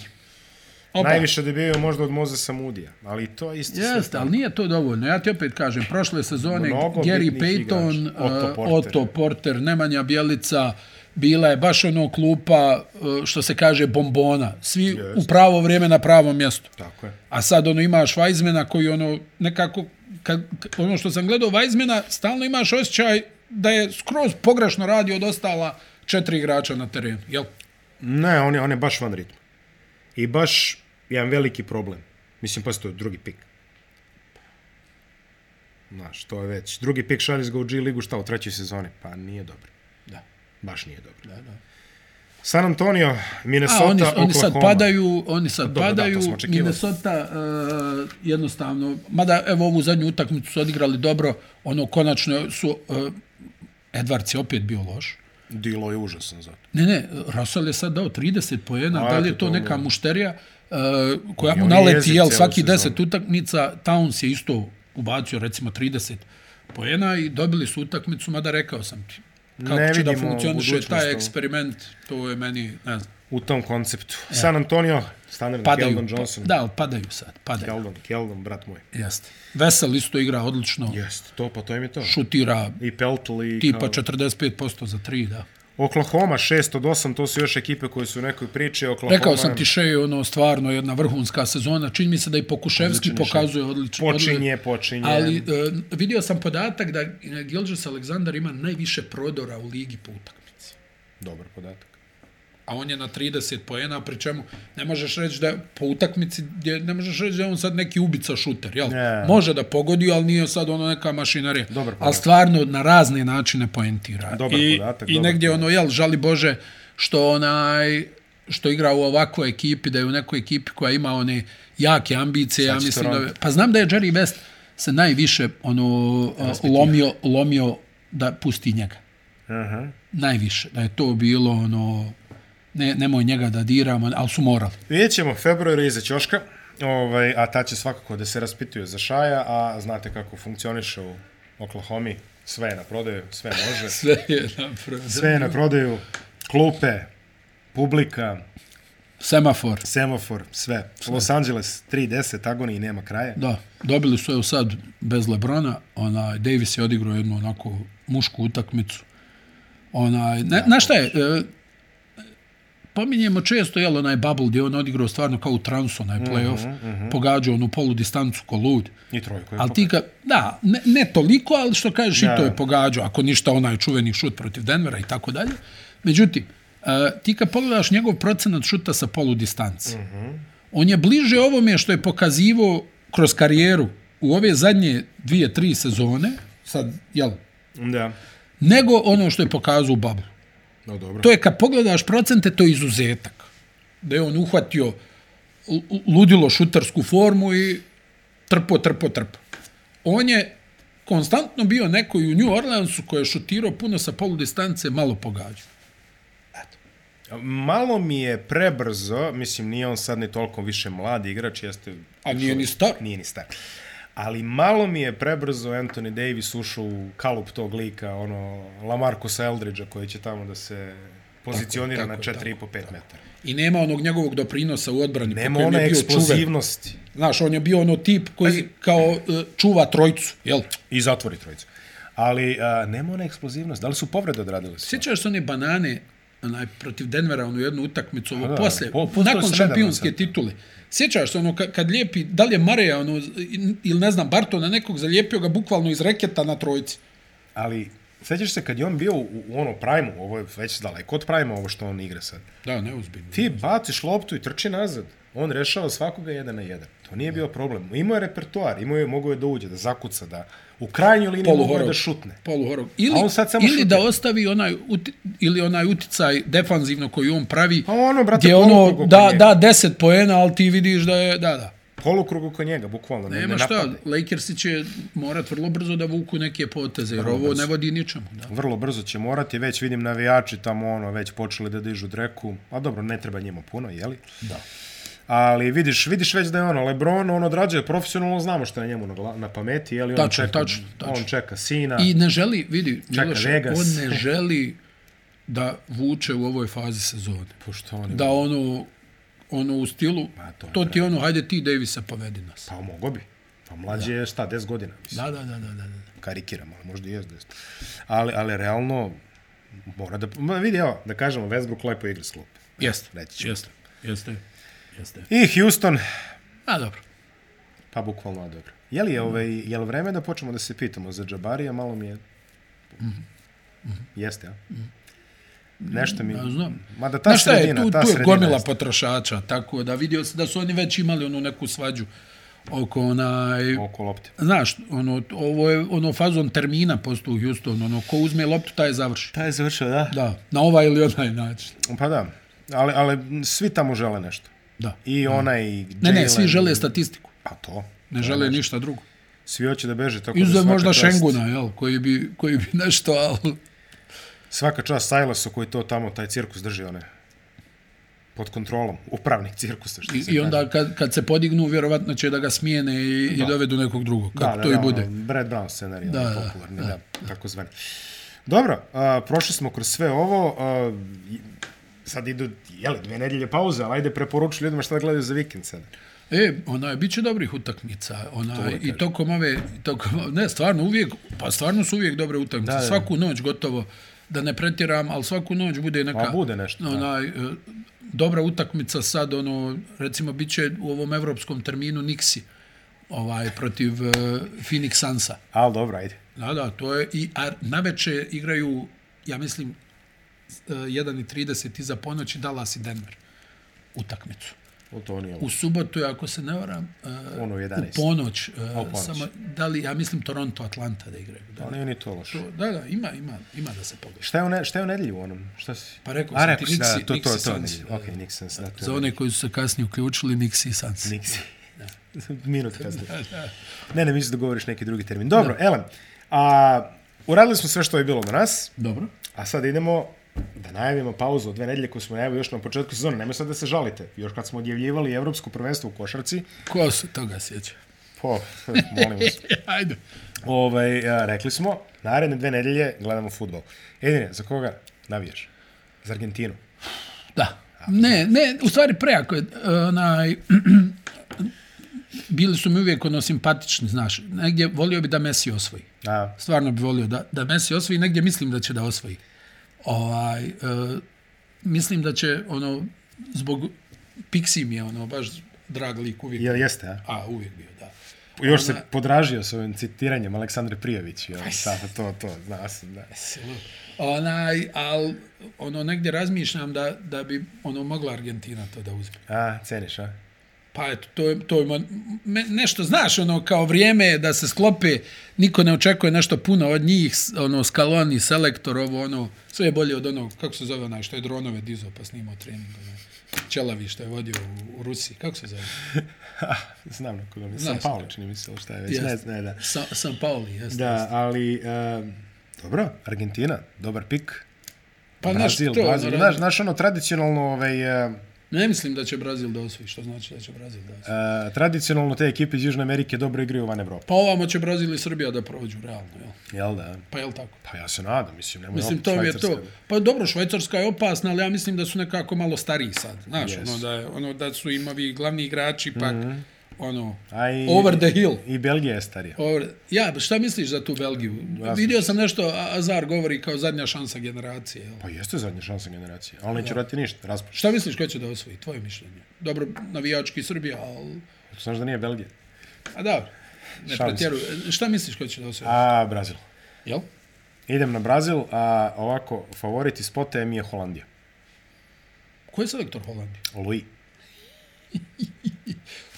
B: Opa.
A: Najviše dobijaju možda od Mozesa Mudija, ali i to je isto sve
B: Jeste, ali nije to dovoljno. Ja ti opet kažem, prošle sezone
A: Mnogo
B: Gary
A: bitnih
B: Payton,
A: igrača. Otto
B: eh,
A: Porter.
B: Otto Porter, Nemanja Bjelica, bila je baš ono klupa, eh, što se kaže, bombona. Svi u pravo vrijeme na pravom mjestu.
A: Tako je.
B: A sad ono imaš Weizmana koji ono nekako, kad, k- ono što sam gledao Weizmana, stalno imaš osjećaj da je skroz pogrešno radio od ostala četiri igrača na terenu. Jel?
A: Ne, on je, on je baš van ritma. I baš jedan veliki problem. Mislim, pa to je drugi pik. Znaš, to je već. Drugi pik šalješ ga u G ligu, šta, u trećoj sezoni? Pa nije dobro.
B: Da.
A: Baš nije dobro.
B: da.
A: San Antonio, Minnesota,
B: A, oni, oni sad
A: Oklahoma.
B: padaju, oni sad
A: Dobro, da, to
B: padaju,
A: smo očekivali.
B: Minnesota uh, jednostavno, mada evo ovu zadnju utakmicu su odigrali dobro, ono konačno su, uh, Edwards je opet bio loš.
A: Dilo je užasan zato.
B: Ne, ne, Russell je sad dao 30 pojena,
A: A,
B: da li je
A: eto,
B: to
A: to
B: neka
A: ono.
B: mušterija uh, koja
A: I
B: mu
A: on je jeziv
B: naleti, jel,
A: cijelu
B: svaki
A: sezonu.
B: 10 utakmica, Towns je isto ubacio recimo 30 pojena i dobili su utakmicu, mada rekao sam ti, kako
A: Ne
B: će da
A: vidimo
B: funkcioniše
A: budućnost
B: taj
A: ovo.
B: eksperiment, to je meni, ne znam.
A: U tom konceptu. San Antonio, standardno
B: E. padaju.
A: Keldon Johnson.
B: Pa, da, ali padaju sad, padaju.
A: Keldon, Keldon, brat moj.
B: Jeste. Vesel isto igra odlično,
A: Jest, to, pa to im je to.
B: šutira
A: I Peltl i...
B: tipa
A: kao-
B: 45% za tri, da.
A: Oklahoma 6 od 8, to su još ekipe koje su u nekoj priči. Oklahoma,
B: Rekao sam ti Shea je ono stvarno jedna vrhunska sezona, čini mi se da i Pokuševski
A: Odličan je
B: pokazuje odlično.
A: Počinje, počinje.
B: Ali e, vidio sam podatak da Gilgis Aleksandar ima najviše prodora u ligi po utakmici.
A: Dobar podatak.
B: A on je na 30 poena, pri čemu ne možeš reći da je po utakmici, gdje ne možeš reći da je on sad neki ubica šuter, jel?
A: Ne.
B: Može da pogodi, ali nije sad ono neka mašinerija.
A: Dobar podatak.
B: ali stvarno na razne načine poentira.
A: Dobar
B: I,
A: podatak,
B: I
A: dobar
B: negdje ono, jel, žali Bože, što onaj što igra u ovakvoj ekipi, da je u nekoj ekipi koja ima one jake ambicije, ja
A: će
B: mislim da...
A: Toronto.
B: Pa znam da je Jerry West se najviše ono, lomio, lomio da pusti njega
A: Aha.
B: najviše, da je to bilo ono, ne, nemoj njega da diramo, ali su morali.
A: Vidjet ćemo, februar je iza Ćoška, ovaj, a ta će svakako da se raspituje za Šaja, a znate kako funkcioniše u Oklahoma, sve je na prodaju, sve može.
B: Sve je napravo.
A: Sve je na prodaju, klupe, publika,
B: Semafor.
A: semafor, sve. Los Angeles 3-10, agoniji nema kraja.
B: Da, dobili su evo sad bez Lebrona, onaj, Davis je odigrao jednu onako mušku utakmicu. Onaj, ne, na šta je, e, pominjemo često, jel, onaj bubble gdje je on odigrao stvarno kao u transu, onaj playoff, mm -hmm. pogađao onu polu distancu ko lud.
A: I trojku je
B: Ali ti ga, da, ne, ne toliko, ali što kažeš i
A: Da.
B: to je pogađao, ako ništa onaj čuveni šut protiv Denvera i tako dalje. Međutim, uh, ti kad pogledaš njegov procenat šuta sa polu distanci,
A: Mhm.
B: on je bliže ovome što je pokazivo kroz karijeru u ove zadnje dvije, tri sezone, sad, jel,
A: popala. Da.
B: nego ono što je pokazao u bablu.
A: No, dobro.
B: To je kad pogledaš procente, to je izuzetak. Da je on uhvatio l- l- ludilo šutarsku formu i trpo, trpo, trpo. On je konstantno bio neko i u New Orleansu koji je šutirao puno sa polu distance, malo pogađao.
A: Malo mi je prebrzo, mislim nije on sad ni toliko više mladi igrač, jeste...
B: A nije ni star.
A: Nije ni star. Ali malo mi je prebrzo Anthony Davis ušao u kalup tog lika, ono, Lamarcusa Eldridgea koji će tamo da se pozicionira
B: Tako je, tako
A: na 4,5-5 metara.
B: I nema onog njegovog doprinosa u odbrani. po
A: Nema
B: kojem
A: one
B: je bio čuven.
A: eksplozivnosti.
B: Znaš, on je bio ono tip koji kao e, čuva trojcu, jel?
A: I zatvori trojicu. Ali a, nema one eksplozivnosti. Da li su povrede odradili? sve?
B: Sjećaš se one banane onaj, protiv Denvera, onu jednu utakmicu, ovo
A: da,
B: poslije,
A: po-
B: po,
A: po- to je
B: nakon
A: sve nedavno
B: šampionske
A: sad.
B: titule. Sjećaš se ono kad, kad lijepi, da li je Mareja ono, ili ne znam, Bartona nekog zalijepio ga bukvalno iz reketa na trojici.
A: Ali, sećaš se kad je on bio u, u ono prajmu, ovo je već daleko od prajma ovo što on igra sad.
B: Da, neozbiljno.
A: Ti baciš loptu i trči nazad. on rešao svakoga jedan na jedan. To nije bio problem. Imao je repertoar, imao je, mogo je da uđe, da zakuca, da u krajnjoj liniji mogo je da šutne.
B: Poluhorog. Ili,
A: A on sad samo
B: ili
A: šutira.
B: da ostavi onaj, uti, ili onaj uticaj defanzivno koji on pravi,
A: Pa ono, brate,
B: gdje
A: polukrug
B: ono
A: oko
B: da,
A: njega.
B: da 10 poena, ali ti vidiš da je, da, da.
A: Polukrug oko njega, bukvalno. Ne,
B: Nema
A: ne
B: šta,
A: napadaj.
B: Lakersi će morat vrlo brzo da vuku neke poteze, jer
A: Vrlo
B: ovo
A: brzo.
B: ne vodi ničemu. Da.
A: Vrlo brzo će morati, već vidim navijači tamo ono, već počeli da dižu dreku. A dobro, ne treba njima puno, jeli?
B: da.
A: Ali vidiš, vidiš već da je ono, Lebron, on odrađuje profesionalno, znamo što je njemu na, gla- na pameti, jeli? On
B: Tačno,
A: čeka,
B: tačno, tačno.
A: On čeka sina.
B: I ne želi, vidi,
A: Čeka
B: Miloš,
A: Vegas.
B: on ne želi da vuče u ovoj fazi sezone.
A: Pošto Pa on
B: Da ono, ono u stilu,
A: Ma, to je
B: to ti je ono, hajde ti Davisa povedi nas.
A: Pa mogo bi. Pa mlađi je šta, 10 godina, mislim. Pa,
B: Da, da, da, da, da. da.
A: Karikiram, ali možda i jest 10. Ali, ali realno, mora da... Ma vidi, evo, da kažemo, Westbrook lepo igra s klupe.
B: Jeste,
A: Reći ću.
B: jeste, jeste, jeste.
A: I Houston,
B: A dobro.
A: pa bukvalno a dobro. Je li, je, ovaj, je li vreme da počnemo da se pitamo za Džabarija? Malo mi je... Jeste, a? Nešto mi...
B: Ne pa znam.
A: Mada ta
B: Ta Znaš šta je,
A: sredina,
B: tu,
A: ta
B: tu je
A: sredina
B: gomila pa-
A: jeste.
B: potrošača, tako da vidio se da su oni već imali onu neku svađu oko onaj...
A: oko lopte.
B: Znaš, ono, ovo je ono fazon termina posto u Houstonu, ono, ko uzme loptu, taj završi.
A: Ta je završio, da?
B: Da, na ovaj ili onaj način.
A: Pa da, ali, ali svi tamo žele nešto.
B: Da.
A: I onaj...
B: Mm. Ne, ne,
A: Jalen-
B: svi žele statistiku.
A: Pa to.
B: Ne žele ništa drugo.
A: Svi hoće da beže, tako da
B: Izuzev
A: svaka
B: možda
A: čast-
B: Šenguna, jel, koji bi, koji bi nešto, ali...
A: Svaka čast Silasu koji to tamo, taj cirkus drži, one, pod kontrolom, upravnik cirkusa, što
B: I,
A: se
B: I
A: kaže.
B: onda kad, kad se podignu, vjerovatno će da ga smijene i, i dovedu nekog drugog, kako to i bude.
A: Ono, Brad Brown scenarij,
B: Da,
A: da,
B: da,
A: popularni, da, da, tako zvani. Dobro, a, prošli smo kroz sve ovo, a, i- sad idu, jeli, dve nedelje pauze, ali ajde preporučili ljudima šta da gledaju za vikend sada.
B: E, onaj, bit će dobrih utakmica. Onaj, I tokom ove, tokom, ne, stvarno uvijek, pa stvarno su uvijek dobre utakmice. Da,
A: da.
B: Svaku noć gotovo, da ne pretjeram, ali svaku noć bude neka...
A: Pa bude nešto, da.
B: Onaj, e, dobra utakmica sad, ono, recimo, bit će u ovom evropskom terminu Nixi ovaj, protiv uh, Phoenix Sansa.
A: Ali dobro, ajde.
B: Da, da, to je, i, a naveče igraju, ja mislim, e, 1.30 iza ponoći Dallas i Denver utakmicu.
A: O, to nije
B: U
A: loše.
B: subotu, je, ako se ne varam, uh,
A: Ono u 11.
B: u ponoć, uh,
A: ponoć.
B: samo da li, ja mislim Toronto, Atlanta da igraju. Da,
A: Ali nije ni to loše.
B: to, da, da, ima, ima, ima da se pogleda.
A: Šta je, u ne, šta je u nedelju u onom? Šta si?
B: Pa rekao
A: A,
B: sam
A: rekao
B: ti,
A: si, da,
B: Nixi-
A: to, to, to,
B: Nixi
A: to,
B: Suns,
A: nedelju. Ok, Nixon, da, to je
B: Za one koji su se kasnije uključili, Nixi i Suns.
A: Nixi. Minut kasnije. Ne, ne, mislim da govoriš neki drugi termin. Dobro, Elem, a, uradili smo sve što je bilo do nas,
B: Dobro.
A: a sad idemo da najavimo pauzu od dve nedelje koju smo najavili još na početku sezone. Nemoj sad da se žalite. Još kad smo odjavljivali Evropsko prvenstvo u košarci,
B: Ko se toga sjeća?
A: po, molim vas,
B: Ajde.
A: ovaj, a, rekli smo, naredne dve nedelje gledamo futbol. Edine, za koga navijaš? Za Argentinu.
B: Da. Ne, ne, u stvari prejako je, e, onaj, bili su mi uvijek ono simpatični, znaš, negdje volio bi da Messi osvoji.
A: A,
B: Stvarno bi volio da, da Messi osvoji, negdje mislim da će da osvoji. Ovaj, e, mislim da će, ono, zbog, Pixi mi je, ono, baš drag lik uvijek.
A: jel jeste, a?
B: A, uvijek bio, da.
A: Još se podražio s ovim citiranjem Aleksandre Prijević. Jel, sad, to, to, znao sam, da.
B: Onaj, al, ono, negdje razmišljam da, da bi, ono, mogla Argentina to da uzme.
A: A, ceniš, a?
B: Pa eto, to je, to je mo- me, nešto, znaš, ono, kao vrijeme je da se sklope, niko ne očekuje nešto puno od njih, s- ono, Scaloni, selektor, ovo, ono, sve je bolje od onog, kako se zove onaj, što je dronove dizo pa snimao trening, onaj, Čelavi što je vodio u, u Rusiji, kako se zove?
A: Znam na koga mi
B: Znaš.
A: San Paolo čini mi se, ili šta je već, ne,
B: Jeste.
A: ne, da.
B: Sa, San Pauli, jeste.
A: Da, ali, uh, dobro, Argentina, dobar pik.
B: pa znaš,
A: Brazil,
B: to,
A: Brazil,
B: ono,
A: znaš, znaš ono tradicionalno, ovaj, uh,
B: ne mislim da će Brazil da osvoji, što znači da će Brazil da osvoji.
A: uh, tradicionalno te ekipe iz Južne Amerike dobro igraju van Evrope.
B: Pa ovamo će Brazil i Srbija da prođu, realno, jel?
A: Jel da?
B: Pa jel tako?
A: Pa ja se nadam, mislim, nemoj
B: Mislim,
A: opet
B: to je
A: Švajcarska.
B: to. Pa dobro, Švajcarska je opasna, ali ja mislim da su nekako malo stariji sad. Znaš, yes.
A: Jesu.
B: ono, da je, ono da su im ovi glavni igrači, pak,
A: Mhm.
B: mm -hmm. ono,
A: A i,
B: over the hill.
A: I Belgija je starija.
B: Over, ja, šta misliš za tu Belgiju?
A: Ja
B: Vidio sam nešto, A- Azar govori kao zadnja šansa generacije. Jel?
A: Pa jeste zadnja šansa generacije, ali neće vratiti ništa, raspočet.
B: Šta misliš ko će da osvoji? Tvoje mišljenje. Dobro, navijački Srbija, ali...
A: Znaš da nije Belgija?
B: A da, ne
A: Šalim se.
B: pretjeruj. Šta misliš ko će da osvoji?
A: A, Brazil.
B: Jel?
A: Idem na Brazil, a ovako, favorit iz pote mi je Holandija.
B: Ko je selektor Holandije?
A: Louis.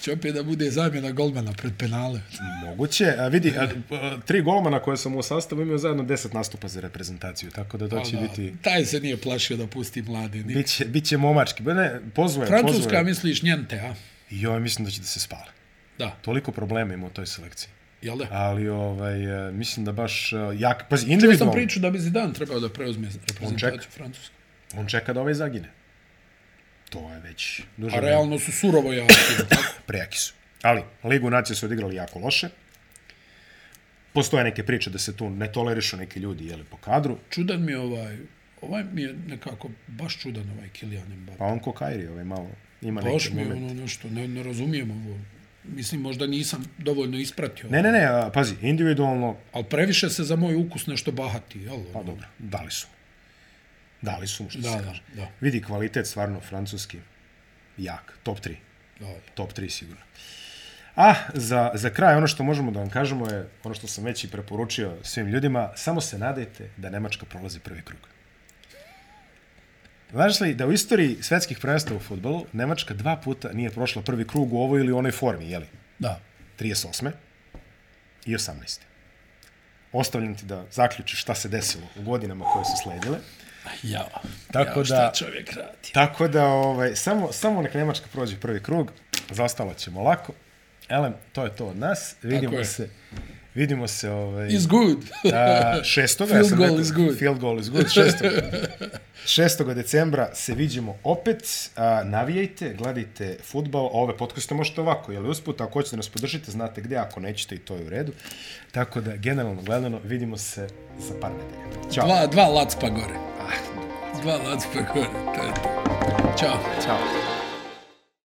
B: Će opet da bude zamjena golmana pred penale.
A: Moguće. A vidi, a, a, tri golmana koje sam u sastavu imaju zajedno 10 nastupa za reprezentaciju, tako da to će biti...
B: Ono, Taj se nije plašio da pusti mlade. Ni.
A: Biće, biće momački. Ba Ne, pozvoje,
B: Francuska,
A: pozvoje.
B: misliš, njente, a?
A: Joj, mislim da će da se spale.
B: Da,
A: Toliko problema ima u toj selekciji.
B: jel da?
A: Ali ovaj, e, mislim da baš e, jak... Pazi,
B: Čuo sam
A: individualno.
B: priču da bi Zidane trebao da preuzme reprezentaciju Francuske.
A: On čeka da ovaj zagine. To je već... Duže
B: A
A: vreme.
B: realno su surovo jaki. jel tako?
A: prejaki su. Ali, Ligu nacije su odigrali jako loše. Postoje neke priče da se tu ne tolerišu neki ljudi jeli, po kadru,
B: čudan mi je ovaj, ovaj mi je nekako baš čudan ovaj Kylian Mbappe.
A: pa on ko Kairi ovaj malo ima
B: Baš
A: neki
B: mi je
A: moment.
B: ono nešto, ne, ne razumijem ovo. Mislim, možda nisam dovoljno ispratio.
A: Ne, ne, ne, a, pazi, individualno,
B: Ali previše se za moj ukus nešto bahati, jel?
A: pa dobro, dali su mu. Dali su mu, što
B: Da,
A: se
B: da,
A: kaže.
B: da.
A: Vidi, kvalitet stvarno francuski, jak, top 3.
B: da.
A: top 3 sigurno. A za, za kraj ono što možemo da vam kažemo je ono što sam već i preporučio svim ljudima, samo se nadajte da Nemačka prolazi prvi krug. Znaš li da u istoriji svetskih prvenstva u futbolu Nemačka dva puta nije prošla prvi krug u ovoj ili onoj formi, jeli?
B: Da.
A: 38. i 18. Ostavljam ti da zaključiš šta se desilo u godinama koje su sledile.
B: Ja.
A: Tako
B: ja, šta
A: da-
B: čovjek radi?
A: Tako da, ovaj, samo, samo nek Nemačka prođe prvi krug, zaostalo ćemo lako. Elem, to je to od nas. Vidimo
B: je.
A: se, vidimo se ovaj,
B: It's good.
A: a, šestoga.
B: Field
A: ja sam
B: goal
A: rekao,
B: is good.
A: Field goal is good, šestoga. 6. decembra se viđemo opet. A, navijajte, gledajte futbal, a ove podcaste možete ovako, jel usput, ako hoćete da nas podržite, znate gdje, ako nećete i to je u redu. Tako da, generalno gledano, vidimo se za par nedelja. Ćao. Ah,
B: dva, dva lacpa gore. Dva lacpa gore. To je to. Ćao.
A: Ćao.